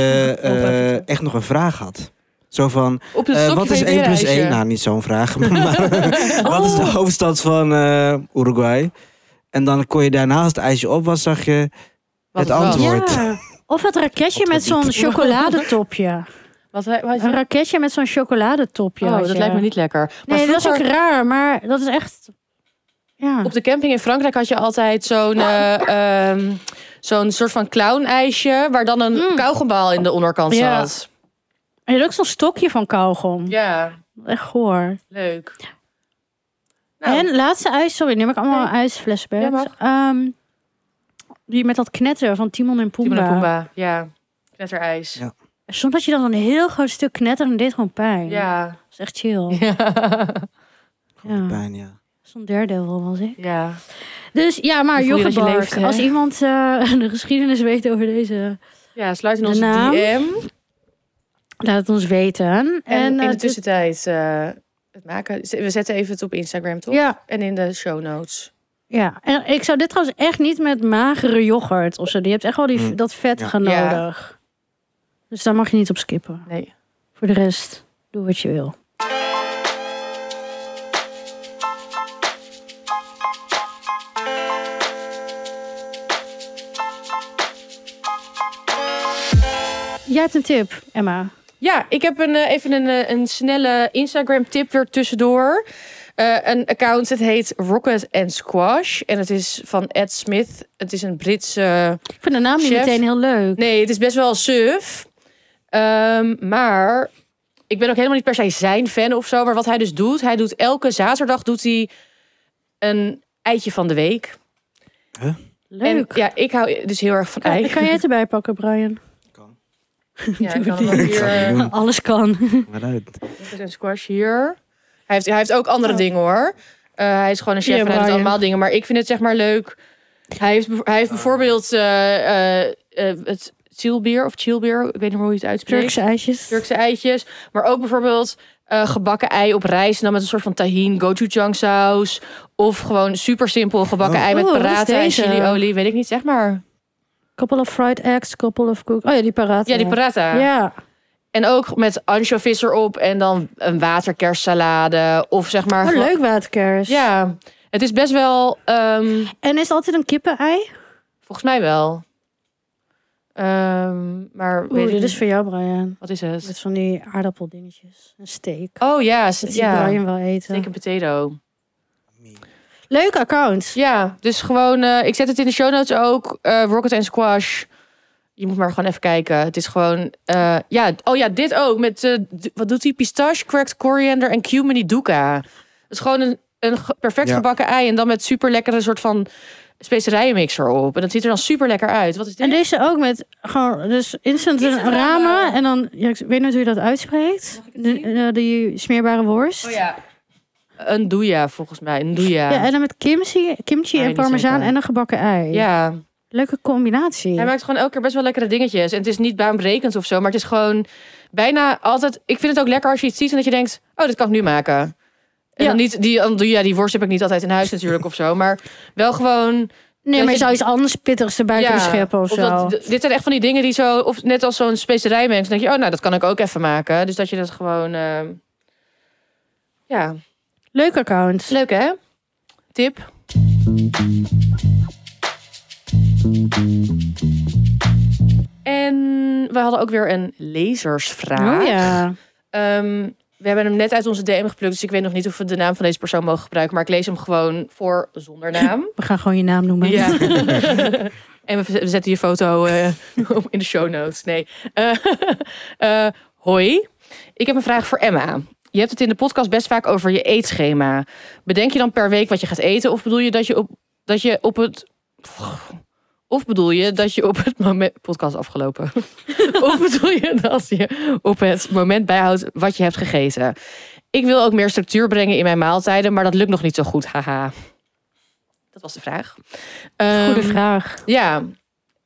[SPEAKER 1] eh, echt nog een vraag had. Zo van,
[SPEAKER 3] Op het
[SPEAKER 1] eh,
[SPEAKER 3] stokje
[SPEAKER 1] wat
[SPEAKER 3] van
[SPEAKER 1] is
[SPEAKER 3] je
[SPEAKER 1] 1 plus
[SPEAKER 3] berenijsje.
[SPEAKER 1] 1? Nou, niet zo'n vraag. Maar wat is de hoofdstad van eh, Uruguay? En dan kon je daarna, als het ijsje op was, zag je...
[SPEAKER 3] Wat
[SPEAKER 1] het
[SPEAKER 3] was.
[SPEAKER 1] antwoord.
[SPEAKER 2] Ja. Of het raketje met zo'n chocoladetopje.
[SPEAKER 3] Wat, wat, wat-
[SPEAKER 2] Een raketje met zo'n chocoladetopje.
[SPEAKER 3] oh,
[SPEAKER 2] had
[SPEAKER 3] dat
[SPEAKER 2] je.
[SPEAKER 3] lijkt me niet lekker. Maar
[SPEAKER 2] Nee, dat is
[SPEAKER 3] vroeger-
[SPEAKER 2] ook raar, maar dat is echt... Ja.
[SPEAKER 3] Op de camping in Frankrijk had je altijd zo'n eh, ehm, zo'n soort van clown-ijsje... waar dan een
[SPEAKER 2] Mm.
[SPEAKER 3] kauwgombal in de onderkant
[SPEAKER 2] Ja.
[SPEAKER 3] zat.
[SPEAKER 2] En je had ook zo'n stokje van kauwgom.
[SPEAKER 3] Ja,
[SPEAKER 2] Echt goor.
[SPEAKER 3] leuk. Nou,
[SPEAKER 2] En laatste ijs, sorry, neem ik allemaal
[SPEAKER 3] Nee. Ja,
[SPEAKER 2] ijsflashbacks.
[SPEAKER 3] mag.
[SPEAKER 2] Ehm, die met dat knetteren van Timon en Pumba.
[SPEAKER 3] Timon en Pumba. Ja, knetterijs.
[SPEAKER 1] Ja.
[SPEAKER 2] Soms had je dan een heel groot stuk knetteren en dit gewoon pijn.
[SPEAKER 3] Ja.
[SPEAKER 2] Dat is echt chill.
[SPEAKER 3] Ja.
[SPEAKER 1] Gewoon
[SPEAKER 2] Ja.
[SPEAKER 1] pijn, ja.
[SPEAKER 2] Zo'n daredevil was ik.
[SPEAKER 3] ja.
[SPEAKER 2] Dus ja, maar
[SPEAKER 3] Dan voel je dat je
[SPEAKER 2] yoghurt.
[SPEAKER 3] leeft, hè?
[SPEAKER 2] Als iemand eh, de geschiedenis weet over deze,
[SPEAKER 3] Ja, sluit in
[SPEAKER 2] De
[SPEAKER 3] onze
[SPEAKER 2] naam.
[SPEAKER 3] DM.
[SPEAKER 2] laat het ons weten.
[SPEAKER 3] En,
[SPEAKER 2] eh,
[SPEAKER 3] in de
[SPEAKER 2] dit-
[SPEAKER 3] tussentijd eh, het maken. We zetten even het op Instagram, toch?
[SPEAKER 2] Ja,
[SPEAKER 3] En in de show notes.
[SPEAKER 2] ja. En ik zou dit trouwens echt niet met magere yoghurt of zo. Je hebt echt wel die,
[SPEAKER 1] Mm.
[SPEAKER 2] dat vet
[SPEAKER 1] Ja.
[SPEAKER 2] gaan
[SPEAKER 3] Ja.
[SPEAKER 2] nodig. Dus daar mag je niet op skippen.
[SPEAKER 3] Nee.
[SPEAKER 2] Voor de rest, doe wat je wil. Jij hebt een tip, Emma.
[SPEAKER 3] Ja, ik heb een, eh, even een, eh, een snelle Instagram-tip weer tussendoor. Eh, een account, het heet Rocket and Squash. En het is van Ed Smith. Het is een Britse...
[SPEAKER 2] Ik vind de naam niet
[SPEAKER 3] Chef.
[SPEAKER 2] meteen heel leuk.
[SPEAKER 3] Nee, het is best wel suf. Ehm, maar ik ben ook helemaal niet per se zijn fan of zo. Maar wat hij dus doet, hij doet elke zaterdag doet hij een eitje van de week.
[SPEAKER 2] Leuk.
[SPEAKER 3] En, ja, ik hou dus heel erg van
[SPEAKER 2] kan,
[SPEAKER 3] ei.
[SPEAKER 2] kan jij het erbij pakken, Brian?
[SPEAKER 1] Kan.
[SPEAKER 3] Ja, ik kan hem ook
[SPEAKER 1] Ik zal het
[SPEAKER 3] hier.
[SPEAKER 1] niet doen,
[SPEAKER 2] Alles kan.
[SPEAKER 1] maar uit.
[SPEAKER 3] Er een squash hier. Hij heeft, hij heeft ook andere
[SPEAKER 2] Oh.
[SPEAKER 3] dingen hoor. Eh, hij is gewoon een chef
[SPEAKER 2] Ja,
[SPEAKER 3] en hij doet
[SPEAKER 2] Brian.
[SPEAKER 3] allemaal dingen. Maar ik vind het zeg maar leuk. Hij heeft, bev- hij heeft bijvoorbeeld eh, eh, eh, het chillbier of chillbier. Ik weet niet meer hoe je het uitspreekt.
[SPEAKER 2] Turkse ijsjes.
[SPEAKER 3] Turkse eitjes. Maar ook bijvoorbeeld eh, gebakken ei op rijst. En dan met een soort van tahin, gochujang saus. Of gewoon super simpel gebakken
[SPEAKER 1] Oh.
[SPEAKER 3] ei met
[SPEAKER 2] Oeh, wat is
[SPEAKER 3] paratha en
[SPEAKER 2] deze?
[SPEAKER 3] chiliolie. Weet ik niet, zeg maar.
[SPEAKER 2] Couple of fried eggs, couple of cook. Oh ja, die paraat.
[SPEAKER 3] Ja, die paratha.
[SPEAKER 2] Ja.
[SPEAKER 3] En ook met anchovies erop. En dan een waterkerstsalade. Of zeg maar...
[SPEAKER 2] Oh,
[SPEAKER 3] gewoon-
[SPEAKER 2] leuk waterkers.
[SPEAKER 3] Ja, het is best wel... ehm,
[SPEAKER 2] En is er altijd een kippen-ei?
[SPEAKER 3] volgens mij wel. Ehm, maar weet
[SPEAKER 2] Oeh,
[SPEAKER 3] ik
[SPEAKER 2] dit
[SPEAKER 3] niet.
[SPEAKER 2] is voor jou, Brian.
[SPEAKER 3] Wat is het?
[SPEAKER 2] Dus Met van die aardappeldingetjes. Een steak.
[SPEAKER 3] Oh ja, s-
[SPEAKER 2] Dat zie
[SPEAKER 3] ja.
[SPEAKER 2] Brian wel eten.
[SPEAKER 3] Steak en potato.
[SPEAKER 2] Leuk account.
[SPEAKER 3] Ja, dus gewoon, eh, ik zet het in de show notes ook. eh, Rocket and Squash. Je moet maar gewoon even kijken. Het is gewoon, eh, ja, oh ja, dit ook. Met, eh, d- wat doet die? Pistache, cracked coriander en cumini duca. Het is gewoon een, een ge- perfect
[SPEAKER 1] Ja.
[SPEAKER 3] gebakken ei. En dan met super lekkere soort van specerijenmix erop. En dat ziet er dan super lekker uit. Wat is dit?
[SPEAKER 2] En deze ook met gewoon, dus instant
[SPEAKER 3] Instant
[SPEAKER 2] ramen.
[SPEAKER 3] ramen.
[SPEAKER 2] En dan, ja, ik weet niet hoe je dat uitspreekt.
[SPEAKER 3] ik het
[SPEAKER 2] De-
[SPEAKER 3] zien?
[SPEAKER 2] eh, die smeerbare worst.
[SPEAKER 3] Oh ja. Een doeja, volgens mij. Een doeja.
[SPEAKER 2] Ja,
[SPEAKER 3] Ja,
[SPEAKER 2] en dan met kimchi, kimchi
[SPEAKER 3] Ah,
[SPEAKER 2] en
[SPEAKER 3] die zei ik
[SPEAKER 2] parmezaan
[SPEAKER 3] al.
[SPEAKER 2] en een gebakken ei. Leuke combinatie.
[SPEAKER 3] Hij maakt gewoon elke keer best wel lekkere dingetjes. En het is niet baanbrekend of zo, maar het is gewoon bijna altijd... Ik vind het ook lekker als je iets ziet en dat je denkt... Oh, dit kan ik nu maken. En
[SPEAKER 2] Ja.
[SPEAKER 3] dan niet die, dan doe- ja, die worst heb ik niet altijd in huis natuurlijk of zo. Maar wel gewoon...
[SPEAKER 2] nee,
[SPEAKER 3] dat
[SPEAKER 2] maar je
[SPEAKER 3] je-
[SPEAKER 2] zou iets anders pittigs erbij
[SPEAKER 3] ja,
[SPEAKER 2] kunnen scheppen of, zo.
[SPEAKER 3] dat- d- dit zijn echt van die dingen die zo... Of net als zo'n specerijmens. Dan denk je, oh, nou, dat kan ik ook even maken. Dus dat je dat gewoon... eh, ja,
[SPEAKER 2] Leuk account.
[SPEAKER 3] leuk hè? Tip. En we hadden ook weer een lezersvraag.
[SPEAKER 2] Oh ja.
[SPEAKER 3] Ehm, we hebben hem net uit onze DM geplukt, dus ik weet nog niet of we de naam van deze persoon mogen gebruiken. Maar ik lees hem gewoon voor zonder naam.
[SPEAKER 2] We gaan gewoon je naam noemen.
[SPEAKER 3] Ja. en we zet- we zetten je foto eh, op in de show notes. Nee. Eh, eh, hoi, ik heb een vraag voor Emma. Je hebt het in de podcast best vaak over je eetschema. Bedenk je dan per week wat je gaat eten? Of bedoel je dat je op, dat je op het... Of bedoel je dat je op het moment... Podcast afgelopen. of bedoel je dat je op het moment bijhoudt wat je hebt gegeten? Ik wil ook meer structuur brengen in mijn maaltijden, maar dat lukt nog niet zo goed. Haha. Dat was de vraag.
[SPEAKER 2] Goede
[SPEAKER 3] Ehm,
[SPEAKER 2] vraag.
[SPEAKER 3] ja,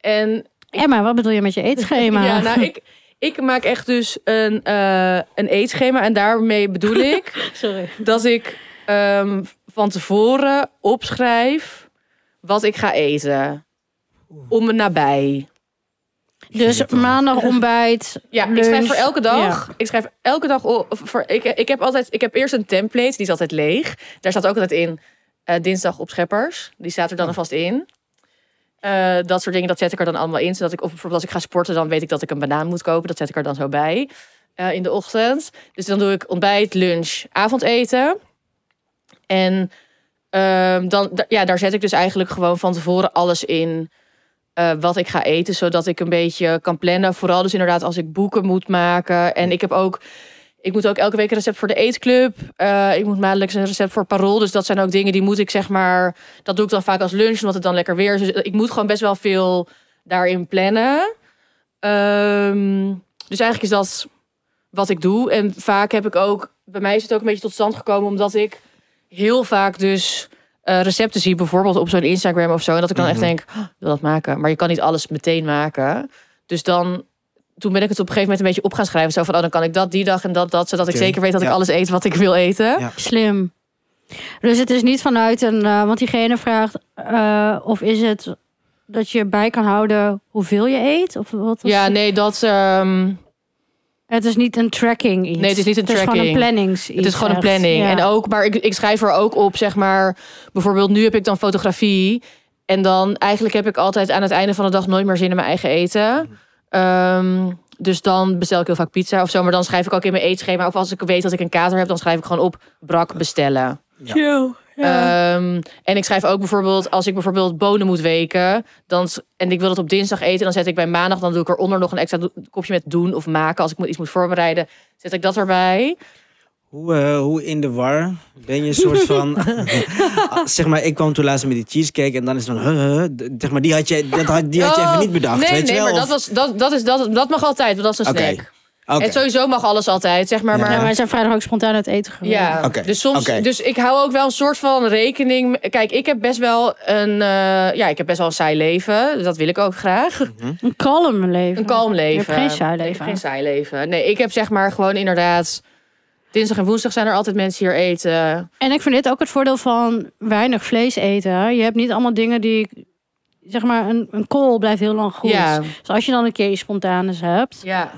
[SPEAKER 3] en
[SPEAKER 2] Emma, wat bedoel je met je eetschema?
[SPEAKER 3] ja, nou, ik, ik maak echt dus een, eh, een eetschema. En daarmee bedoel ik
[SPEAKER 2] Sorry.
[SPEAKER 3] dat ik ehm, van tevoren opschrijf wat ik ga eten. Om me nabij.
[SPEAKER 2] Dus
[SPEAKER 1] Irritant.
[SPEAKER 2] maandag ontbijt.
[SPEAKER 3] Ja, ik
[SPEAKER 2] lunch.
[SPEAKER 3] schrijf voor elke dag.
[SPEAKER 2] Ja.
[SPEAKER 3] Ik schrijf elke dag. o- of Voor, ik, ik, heb altijd, ik heb eerst een template, die is altijd leeg. Daar staat ook altijd in eh, dinsdag op scheppers. Die staat er dan alvast in. Eh, dat soort dingen, dat zet ik er dan allemaal in. Zodat ik, of bijvoorbeeld als ik ga sporten, dan weet ik dat ik een banaan moet kopen. Dat zet ik er dan zo bij eh, in de ochtend. Dus dan doe ik ontbijt, lunch, avondeten. En Ehm, dan, d- ja, daar zet ik dus eigenlijk gewoon van tevoren alles in eh, wat ik ga eten, zodat ik een beetje kan plannen. Vooral dus inderdaad als ik boeken moet maken. En ik heb ook, ik moet ook elke week een recept voor de eetclub. Eh, ik moet maandelijks een recept voor parool. Dus dat zijn ook dingen die moet ik zeg maar, dat doe ik dan vaak als lunch, omdat het dan lekker weer is. Dus ik moet gewoon best wel veel daarin plannen. Ehm, dus eigenlijk is dat wat ik doe. En vaak heb ik ook, bij mij is het ook een beetje tot stand gekomen omdat ik heel vaak dus eh, recepten zie, bijvoorbeeld op zo'n Instagram of zo. En dat ik dan
[SPEAKER 1] Mhm.
[SPEAKER 3] echt denk, "Oh, ik wil dat maken. Maar je kan niet alles meteen maken. Dus dan, toen ben ik het op een gegeven moment een beetje op gaan schrijven. Zo van, oh, dan kan ik dat die dag en dat, dat. Zodat ik
[SPEAKER 1] Oké,
[SPEAKER 3] zeker weet dat
[SPEAKER 1] ja.
[SPEAKER 3] ik alles eet wat ik wil eten.
[SPEAKER 1] Ja.
[SPEAKER 2] Slim. Dus het is niet vanuit een... eh, want diegene vraagt... eh, of is het dat je bij kan houden hoeveel je eet? Of wat was
[SPEAKER 3] Ja,
[SPEAKER 2] het?
[SPEAKER 3] nee, dat... ehm,
[SPEAKER 2] Het is niet een tracking iets.
[SPEAKER 3] Nee, het is niet een
[SPEAKER 2] Het is gewoon
[SPEAKER 3] tracking.
[SPEAKER 2] een plannings
[SPEAKER 3] Het is gewoon een planning. En ook, maar ik, ik schrijf er ook op, zeg maar. Bijvoorbeeld, nu heb ik dan fotografie. En dan eigenlijk heb ik altijd aan het einde van de dag nooit meer zin in mijn eigen eten. Ehm, dus dan bestel ik heel vaak pizza of zo. Maar dan schrijf ik ook in mijn eetschema. Of als ik weet dat ik een kater heb, dan schrijf ik gewoon op brak bestellen.
[SPEAKER 1] Ja.
[SPEAKER 2] Chill.
[SPEAKER 3] Ehm, en ik schrijf ook bijvoorbeeld, als ik bijvoorbeeld bonen moet weken, dan, s- en ik wil het op dinsdag eten, dan zet ik bij maandag, dan doe ik eronder nog een extra do- kopje met doen of maken. Als ik moet- iets moet voorbereiden, zet ik dat erbij.
[SPEAKER 1] Hoe, eh, hoe in de war ben je een soort van... Ah, zeg maar, ik kwam toen laatst met die cheesecake en dan is het van... huh, huh, d- zeg maar, die had je, dat had, die had je
[SPEAKER 3] Oh,
[SPEAKER 1] even niet bedacht,
[SPEAKER 3] Nee,
[SPEAKER 1] weet
[SPEAKER 3] nee,
[SPEAKER 1] je wel?
[SPEAKER 3] maar dat, was, dat, dat, is, dat, dat mag altijd, want dat is een
[SPEAKER 1] Oké,
[SPEAKER 3] snack.
[SPEAKER 1] Of- Oké.
[SPEAKER 3] En sowieso mag alles altijd, zeg maar.
[SPEAKER 1] Ja.
[SPEAKER 3] maar
[SPEAKER 2] Ja, wij zijn vrijdag ook spontaan uit eten geweest.
[SPEAKER 3] Ja,
[SPEAKER 1] Oké,
[SPEAKER 3] dus soms.
[SPEAKER 1] oké.
[SPEAKER 3] Dus ik hou ook wel een soort van rekening. Kijk, ik heb best wel een. eh, ja, ik heb best wel een saai leven. Dat wil ik ook graag.
[SPEAKER 2] Een kalm leven.
[SPEAKER 3] Een kalm leven.
[SPEAKER 2] Je hebt geen saai
[SPEAKER 3] Ik heb
[SPEAKER 2] leven.
[SPEAKER 3] geen saai leven. Nee, ik heb zeg maar gewoon inderdaad. Dinsdag en woensdag zijn er altijd mensen hier eten.
[SPEAKER 2] En ik vind dit ook het voordeel van weinig vlees eten. Je hebt niet allemaal dingen die... Zeg maar, een, een kool blijft heel lang goed.
[SPEAKER 3] Ja.
[SPEAKER 2] Dus als je dan een keer je spontanes hebt,
[SPEAKER 3] Ja,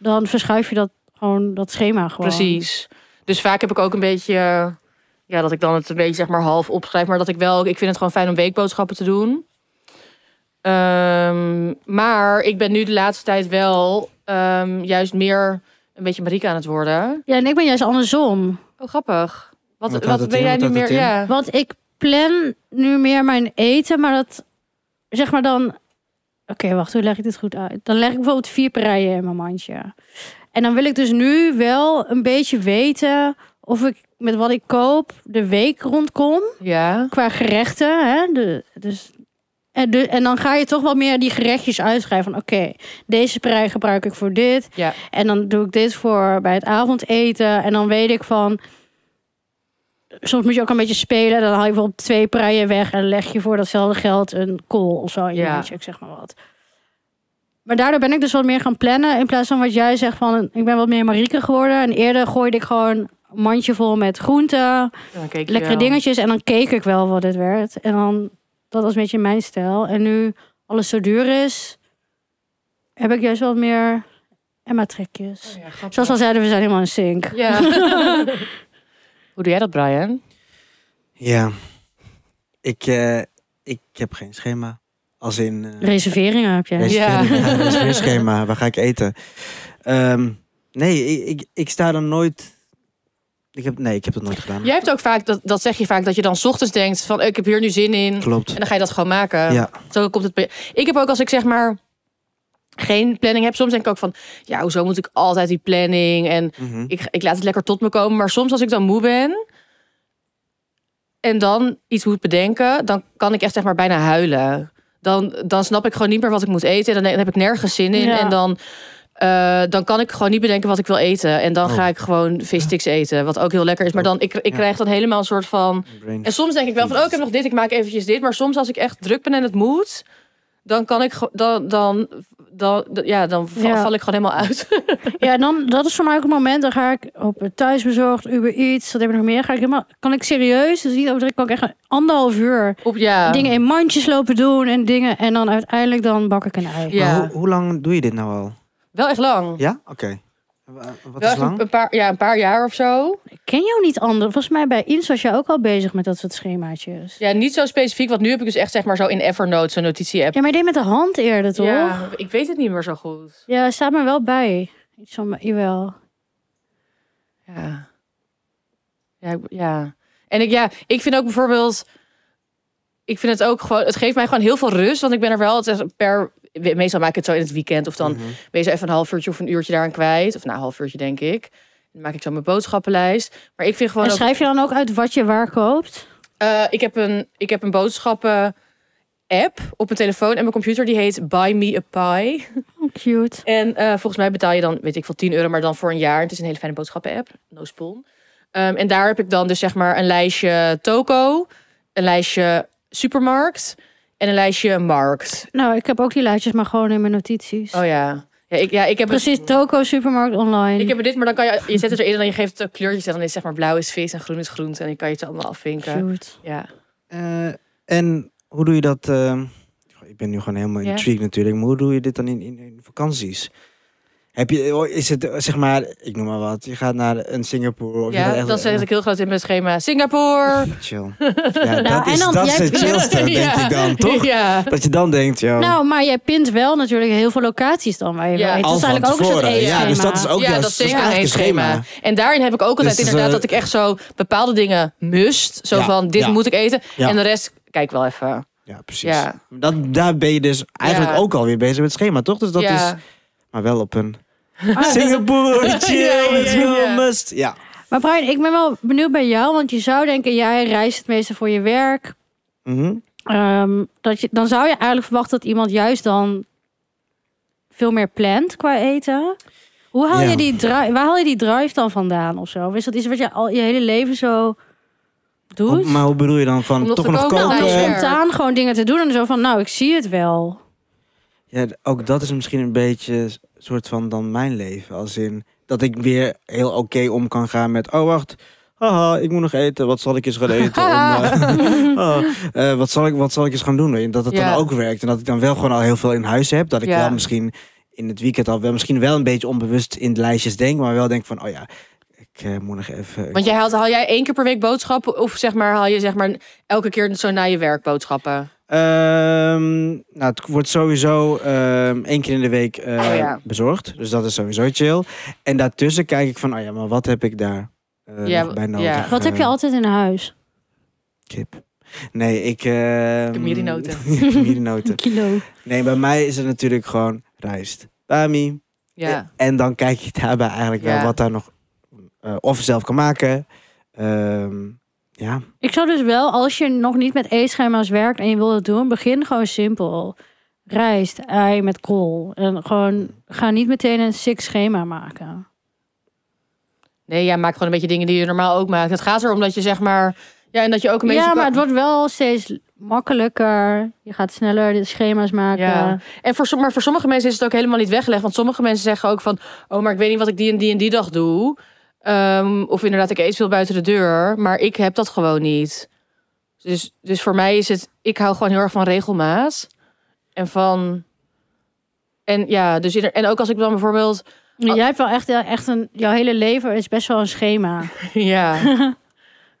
[SPEAKER 2] dan verschuif je dat, gewoon, dat schema gewoon.
[SPEAKER 3] precies. Dus vaak heb ik ook een beetje. eh, Ja, dat ik dan het een beetje zeg maar half opschrijf. Maar dat ik wel. Ik vind het gewoon fijn om weekboodschappen te doen. Ehm, maar ik ben nu de laatste tijd wel ehm, juist meer een beetje Marika aan het worden.
[SPEAKER 2] Ja, en ik ben juist andersom.
[SPEAKER 3] Oh, grappig.
[SPEAKER 1] Wat
[SPEAKER 3] Wat, wat,
[SPEAKER 1] houdt het
[SPEAKER 3] ben
[SPEAKER 1] in?
[SPEAKER 3] jij
[SPEAKER 1] Wat
[SPEAKER 3] nu
[SPEAKER 1] houdt
[SPEAKER 3] meer?
[SPEAKER 1] het in?
[SPEAKER 3] Ja.
[SPEAKER 2] Want ik plan nu meer mijn eten, maar dat... Zeg maar dan... Oké, wacht, hoe leg ik dit goed uit? Dan leg ik bijvoorbeeld vier partijen in mijn mandje. En dan wil ik dus nu wel een beetje weten of ik met wat ik koop de week rondkom.
[SPEAKER 3] ja.
[SPEAKER 2] qua gerechten. Hè? De, dus, en, de, en dan ga je toch wat meer die gerechtjes uitschrijven. van, Oké, deze prei gebruik ik voor dit.
[SPEAKER 3] Ja.
[SPEAKER 2] En dan doe ik dit voor bij het avondeten. En dan weet ik van... Soms moet je ook een beetje spelen. Dan haal je bijvoorbeeld twee preien weg. En leg je voor datzelfde geld een kool of zo. in je
[SPEAKER 3] Ja.
[SPEAKER 2] mandje, ik zeg maar wat. Maar daardoor ben ik dus wat meer gaan plannen. In plaats van wat jij zegt van... Ik ben wat meer Marieke geworden. En eerder gooide ik gewoon een mandje vol met groenten
[SPEAKER 3] Dan keek je
[SPEAKER 2] lekkere
[SPEAKER 3] wel.
[SPEAKER 2] dingetjes. En dan keek ik wel wat het werd. En dan, dat was een beetje mijn stijl. En nu alles zo duur is, heb ik juist wat meer Emma-trekjes.
[SPEAKER 3] Ja, grappig.
[SPEAKER 2] Zoals we al zeiden, we zijn helemaal in sync.
[SPEAKER 3] Ja. Hoe doe jij dat, Brian?
[SPEAKER 1] Ja. Ik, eh, ik heb geen schema. Als in... eh,
[SPEAKER 2] Reserveringen heb jij.
[SPEAKER 1] Ja.
[SPEAKER 3] Ja.
[SPEAKER 1] schema. Waar ga ik eten? Ehm, nee, ik, ik, ik sta er nooit. Ik heb, nee, ik heb dat nooit gedaan.
[SPEAKER 3] Jij hebt ook vaak, dat, dat zeg je vaak, dat je dan 's ochtends denkt van "Oh, ik heb hier nu zin in.
[SPEAKER 1] Klopt.
[SPEAKER 3] En eh, dan ga je dat gewoon maken.
[SPEAKER 1] Ja.
[SPEAKER 3] Zo komt het. bij- Ik heb ook als ik zeg maar geen planning heb, soms denk ik ook van ja, hoezo moet ik altijd die planning? En
[SPEAKER 1] Mhm.
[SPEAKER 3] ik, ik laat het lekker tot me komen. Maar soms als ik dan moe ben en dan iets moet bedenken, dan kan ik echt zeg maar bijna huilen. Dan, dan snap ik gewoon niet meer wat ik moet eten. Dan, dan heb ik nergens zin in.
[SPEAKER 2] Ja.
[SPEAKER 3] En dan, eh, dan kan ik gewoon niet bedenken wat ik wil eten. En dan
[SPEAKER 1] Oh.
[SPEAKER 3] ga ik gewoon vissticks eten, wat ook heel lekker is. Maar dan, ik, ik
[SPEAKER 1] Ja.
[SPEAKER 3] krijg dan helemaal een soort van...
[SPEAKER 1] Brain.
[SPEAKER 3] En soms denk ik wel van, oh, ik heb nog dit, ik maak eventjes dit. Maar soms als ik echt druk ben en het moet, dan kan ik... ge- Dan, dan, dan, ja, dan val,
[SPEAKER 2] Ja.
[SPEAKER 3] val ik gewoon helemaal uit.
[SPEAKER 2] Ja, en dan, dat is voor mij ook een moment. Dan ga ik op het thuisbezorgd, Uber Eats, wat heb ik nog meer. Ga ik helemaal, kan ik serieus, dus niet overdreven, kan ik echt een anderhalf uur
[SPEAKER 3] Op, ja.
[SPEAKER 2] dingen in mandjes lopen doen en dingen. En dan uiteindelijk dan bak ik een ei.
[SPEAKER 3] Ja.
[SPEAKER 1] Maar hoe, hoe lang doe je dit nou al?
[SPEAKER 3] Wel echt lang.
[SPEAKER 1] Ja? Oké. Wa- Wat
[SPEAKER 3] Wel
[SPEAKER 1] is
[SPEAKER 3] echt een,
[SPEAKER 1] lang?
[SPEAKER 3] een paar, ja, een paar jaar of zo.
[SPEAKER 2] Ik ken jou niet anders. Volgens mij bij Ins was jij ook al bezig met dat soort schemaatjes.
[SPEAKER 3] Ja, niet zo specifiek, want nu heb ik dus echt zeg maar zo in Evernote zo'n notitie-app.
[SPEAKER 2] Ja, maar je deed met de hand eerder, toch? Ja,
[SPEAKER 3] ik weet het niet meer zo goed.
[SPEAKER 2] staat me wel bij. Iets
[SPEAKER 3] Oh,
[SPEAKER 2] van, jawel.
[SPEAKER 3] Ja. Ja, ik, ja. En ik, ja, ik vind ook bijvoorbeeld... Ik vind het ook gewoon... Het geeft mij gewoon heel veel rust. Want ik ben er wel altijd per... Meestal maak ik het zo in het weekend. Of dan
[SPEAKER 1] Mhm.
[SPEAKER 3] ben je zo even een half uurtje of een uurtje daaraan kwijt. Of na een half uurtje, denk ik. Dan maak ik zo mijn boodschappenlijst. Maar ik vind gewoon...
[SPEAKER 2] En
[SPEAKER 3] ook-
[SPEAKER 2] schrijf je dan ook uit wat je waar koopt?
[SPEAKER 3] eh, ik, heb een, ik heb een boodschappen app op mijn telefoon en mijn computer die heet Buy Me a Pie.
[SPEAKER 2] Oh, cute.
[SPEAKER 3] En eh, volgens mij betaal je dan, weet ik veel, 10 euro, maar dan voor een jaar. Het is een hele fijne boodschappen-app, no spon. Ehm, en daar heb ik dan dus zeg maar een lijstje toko, een lijstje supermarkt en een lijstje markt.
[SPEAKER 2] Nou, ik heb ook die lijstjes, maar gewoon in mijn notities.
[SPEAKER 3] Oh ja. Ja, ik, ja, ik heb
[SPEAKER 2] Precies, toko, supermarkt, online.
[SPEAKER 3] Ik heb er dit, maar dan kan je, je zet het erin en je geeft het kleurtjes en dan is zeg maar blauw is vis en groen is groente en dan kan je het allemaal afvinken.
[SPEAKER 2] Cute.
[SPEAKER 3] Ja.
[SPEAKER 1] Eh, en hoe doe je dat? eh, ik ben nu gewoon helemaal
[SPEAKER 3] Ja.
[SPEAKER 1] intrigued natuurlijk. Maar hoe doe je dit dan in, in, in vakanties? Heb je, is het eh, zeg maar, ik noem maar wat, je gaat naar een Singapore. Of Oh, je gaat
[SPEAKER 3] Ja,
[SPEAKER 1] echt-
[SPEAKER 3] dat zet ik Nou, heel groot in mijn schema. Singapore!
[SPEAKER 1] Chill. Ja, dat
[SPEAKER 2] en
[SPEAKER 1] is,
[SPEAKER 2] dan-
[SPEAKER 1] dat is
[SPEAKER 2] jij-
[SPEAKER 1] het chillste, denk
[SPEAKER 3] Ja.
[SPEAKER 1] ik dan, toch?
[SPEAKER 3] Ja.
[SPEAKER 1] Dat je dan denkt, joh.
[SPEAKER 2] Nou, maar jij pint wel natuurlijk heel veel locaties dan waar je
[SPEAKER 3] Oh. Ja.
[SPEAKER 1] al
[SPEAKER 2] ja, Dat is
[SPEAKER 1] van
[SPEAKER 2] eigenlijk ook een soort
[SPEAKER 1] tevoren. Ja, dus dat is
[SPEAKER 2] eetschema.
[SPEAKER 1] ook
[SPEAKER 3] ja,
[SPEAKER 1] juist-
[SPEAKER 3] dat is zeker
[SPEAKER 1] eigenlijk
[SPEAKER 3] een schema. En daarin heb ik ook altijd
[SPEAKER 1] Dus,
[SPEAKER 3] inderdaad
[SPEAKER 1] eh,
[SPEAKER 3] dat ik echt zo bepaalde dingen must. Zo
[SPEAKER 1] Ja,
[SPEAKER 3] van, dit
[SPEAKER 1] ja,
[SPEAKER 3] moet ik eten.
[SPEAKER 1] ja.
[SPEAKER 3] En de rest, kijk wel even.
[SPEAKER 1] Ja, precies.
[SPEAKER 3] Ja.
[SPEAKER 1] Dat, daar ben je dus eigenlijk
[SPEAKER 3] Ja.
[SPEAKER 1] ook alweer bezig met het schema, toch? Dus dat
[SPEAKER 3] ja. Ah,
[SPEAKER 1] is, maar wel op een Singapore, chill,
[SPEAKER 3] Ja, ja,
[SPEAKER 1] it's
[SPEAKER 3] ja,
[SPEAKER 1] real
[SPEAKER 3] ja.
[SPEAKER 1] must. Ja.
[SPEAKER 2] Maar Brian, ik ben wel benieuwd bij jou, want je zou denken, jij reist het meeste voor je werk.
[SPEAKER 1] Mhm.
[SPEAKER 2] Ehm, dat je, dan zou je eigenlijk verwachten dat iemand juist dan veel meer plant qua eten. Hoe haal
[SPEAKER 1] Ja.
[SPEAKER 2] je die drive, waar haal je die drive dan vandaan of zo? Of Is dat iets wat je al je hele leven zo doet?
[SPEAKER 1] Hoe- maar hoe bedoel je dan van
[SPEAKER 3] Om nog
[SPEAKER 1] toch
[SPEAKER 3] te
[SPEAKER 1] nog
[SPEAKER 3] koken?
[SPEAKER 2] nou,
[SPEAKER 1] koken?
[SPEAKER 2] om
[SPEAKER 3] ook, eh,
[SPEAKER 2] spontaan gewoon dingen te doen en zo van, nou, ik zie het wel.
[SPEAKER 1] Ja, d- ook dat is misschien een beetje s- soort van dan mijn leven. Als in dat ik weer heel oké om kan gaan met... Oh, wacht. Haha, ik moet nog eten. Wat zal ik eens gaan eten? om, eh, oh, eh, wat, zal ik, wat zal ik eens gaan doen? En dat het
[SPEAKER 3] Ja.
[SPEAKER 1] dan ook werkt. En dat ik dan wel gewoon al heel veel in huis heb. Dat ik
[SPEAKER 3] Ja.
[SPEAKER 1] wel misschien in het weekend al wel... Misschien wel een beetje onbewust in de lijstjes denk. Maar wel denk van, oh ja, ik eh, moet nog even...
[SPEAKER 3] Want jij haalt, haal jij één keer per week boodschappen? Of zeg maar, haal je zeg maar elke keer zo na je werk boodschappen?
[SPEAKER 1] Ehm, nou, het wordt sowieso ehm, één keer in de week eh,
[SPEAKER 3] Oh ja.
[SPEAKER 1] bezorgd. Dus dat is sowieso chill. En daartussen kijk ik van, oh ja, maar wat heb ik daar eh,
[SPEAKER 3] Ja,
[SPEAKER 1] nog bij
[SPEAKER 3] ja.
[SPEAKER 1] nodig?
[SPEAKER 2] Wat heb je
[SPEAKER 1] Ehm,
[SPEAKER 2] altijd in huis?
[SPEAKER 1] Kip. Nee, ik... ehm,
[SPEAKER 3] Kamiri-noten.
[SPEAKER 1] Ja, Kamiri-noten.
[SPEAKER 2] kilo.
[SPEAKER 1] Nee, bij mij is het natuurlijk gewoon rijst. Bami. Eh,
[SPEAKER 3] Ja.
[SPEAKER 1] En dan kijk je daarbij eigenlijk
[SPEAKER 3] Ja.
[SPEAKER 1] wel wat daar nog... eh, of zelf kan maken. Ehm, ja.
[SPEAKER 2] Ik zou dus wel, als je nog niet met eetschema's werkt en je wil het doen, begin gewoon simpel. Rijst, ei met kool. En gewoon, ga niet meteen een six schema maken.
[SPEAKER 3] Nee, ja, maak gewoon een beetje dingen die je normaal ook maakt. Het gaat erom dat je zeg maar... Ja, en dat je ook een beetje...
[SPEAKER 2] Ja,
[SPEAKER 3] kan-
[SPEAKER 2] maar het wordt wel steeds makkelijker. Je gaat sneller de schema's maken.
[SPEAKER 3] Ja. En voor, som- maar voor sommige mensen is het ook helemaal niet weggelegd. Want sommige mensen zeggen ook van... Oh, maar ik weet niet wat ik die en die en die dag doe. Ehm, of inderdaad, ik eet veel buiten de deur. Maar ik heb dat gewoon niet. Dus, dus voor mij is het... Ik hou gewoon heel erg van regelmaat. En van... En ja, dus ieder- en ook als ik dan bijvoorbeeld...
[SPEAKER 2] Maar Jij hebt wel echt, echt een, jouw hele leven is best wel een schema.
[SPEAKER 3] Oh, ja.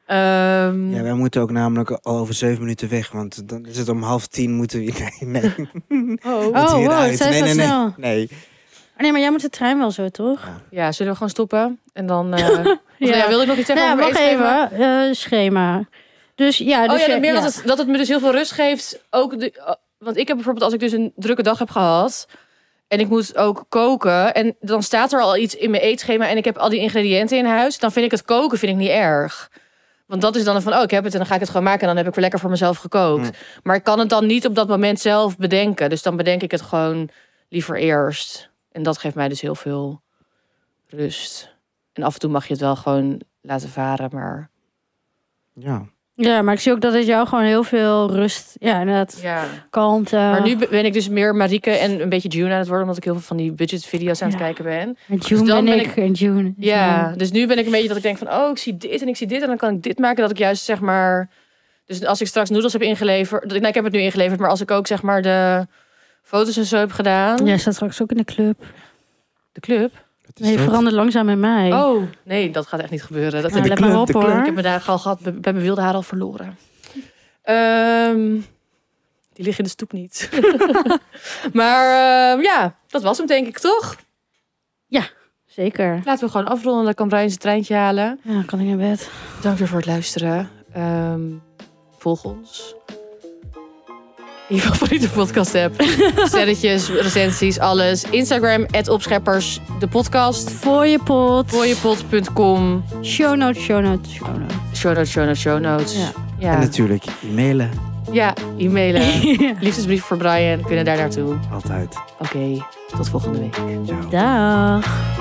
[SPEAKER 3] Ehm,
[SPEAKER 1] ja, wij moeten ook namelijk al over zeven minuten weg. Want dan is het om half tien moeten we... Nee, nee.
[SPEAKER 3] oh.
[SPEAKER 1] Moet
[SPEAKER 2] Oh, wow,
[SPEAKER 1] hieruit.
[SPEAKER 2] het zijn
[SPEAKER 1] nee,
[SPEAKER 2] zo
[SPEAKER 1] nee, nee,
[SPEAKER 2] snel. Oh,
[SPEAKER 1] nee.
[SPEAKER 2] Nee, maar jij moet de trein wel zo, toch?
[SPEAKER 3] ja, zullen we gewoon stoppen? En dan... eh, of nou ja. wil ik nog iets zeggen
[SPEAKER 2] Ja,
[SPEAKER 3] over
[SPEAKER 2] wacht
[SPEAKER 3] eten?
[SPEAKER 2] even. Eh, schema. Dus ja, dus
[SPEAKER 3] oh ja,
[SPEAKER 2] je-
[SPEAKER 3] dan meer
[SPEAKER 2] ja.
[SPEAKER 3] Dat, het, dat het me dus heel veel rust geeft. Ook de, eh, want ik heb bijvoorbeeld, als ik dus een drukke dag heb gehad... en ik moet ook koken... en dan staat er al iets in mijn eetschema... en ik heb al die ingrediënten in huis... dan vind ik het koken vind ik niet erg. Want dat is dan van, oh, ik heb het en dan ga ik het gewoon maken... en dan heb ik weer lekker voor mezelf gekookt.
[SPEAKER 1] Mm.
[SPEAKER 3] Maar ik kan het dan niet op dat moment zelf bedenken. Dus dan bedenk ik het gewoon liever eerst. En dat geeft mij dus heel veel rust. En af en toe mag je het wel gewoon laten varen, maar...
[SPEAKER 1] Ja.
[SPEAKER 2] Ja, maar ik zie ook dat het jou gewoon heel veel rust, ja, inderdaad,
[SPEAKER 3] Ja.
[SPEAKER 2] kalmte.
[SPEAKER 3] Maar nu ben ik dus meer Marike en een beetje June aan het worden, omdat ik heel veel van die budgetvideo's aan het
[SPEAKER 2] Ja.
[SPEAKER 3] kijken ben.
[SPEAKER 2] En June
[SPEAKER 3] dus dan
[SPEAKER 2] ben,
[SPEAKER 3] ben
[SPEAKER 2] ik, en June. is
[SPEAKER 3] Ja,
[SPEAKER 2] June.
[SPEAKER 3] dus nu ben ik een beetje dat ik denk van, oh, ik zie dit en ik zie dit en dan kan ik dit maken. Dat ik juist zeg maar, dus als ik straks noedels heb ingeleverd, nou, ik heb het nu ingeleverd, maar als ik ook zeg maar de foto's en zo heb gedaan,
[SPEAKER 2] Jij staat straks ook in de club.
[SPEAKER 3] de club.
[SPEAKER 1] Wat is
[SPEAKER 2] Nee, je
[SPEAKER 1] dat?
[SPEAKER 2] verandert langzaam met mij.
[SPEAKER 3] Oh, nee, dat gaat echt niet gebeuren. Dat
[SPEAKER 2] Nou,
[SPEAKER 1] de
[SPEAKER 2] let
[SPEAKER 1] club,
[SPEAKER 2] maar op
[SPEAKER 1] de club.
[SPEAKER 2] hoor.
[SPEAKER 3] Ik heb mijn dagen al gehad, bij bij mijn wilde haar al verloren. Ehm, die liggen in de stoep niet. maar ehm, ja, dat was hem denk ik toch?
[SPEAKER 2] Zeker.
[SPEAKER 3] Laten we gewoon afronden. Dan kan Brian zijn treintje halen.
[SPEAKER 2] Ja, kan ik naar bed.
[SPEAKER 3] Dank weer voor het luisteren. Ehm volg ons. In je favoriete podcast app. Sterretjes, recensies, alles. Instagram, opscheppers, de podcast.
[SPEAKER 2] Voor je pot.
[SPEAKER 3] Voorjepot.com.
[SPEAKER 2] Show notes, show notes, show notes.
[SPEAKER 3] Show notes, show notes, show notes.
[SPEAKER 2] Ja.
[SPEAKER 1] En
[SPEAKER 3] Ja,
[SPEAKER 1] natuurlijk e-mailen.
[SPEAKER 3] ja e-mailen. Liefdesbrief voor Brian. Kunnen daar naartoe.
[SPEAKER 1] Altijd.
[SPEAKER 3] Oké, tot volgende week.
[SPEAKER 1] Ciao.
[SPEAKER 2] Dag.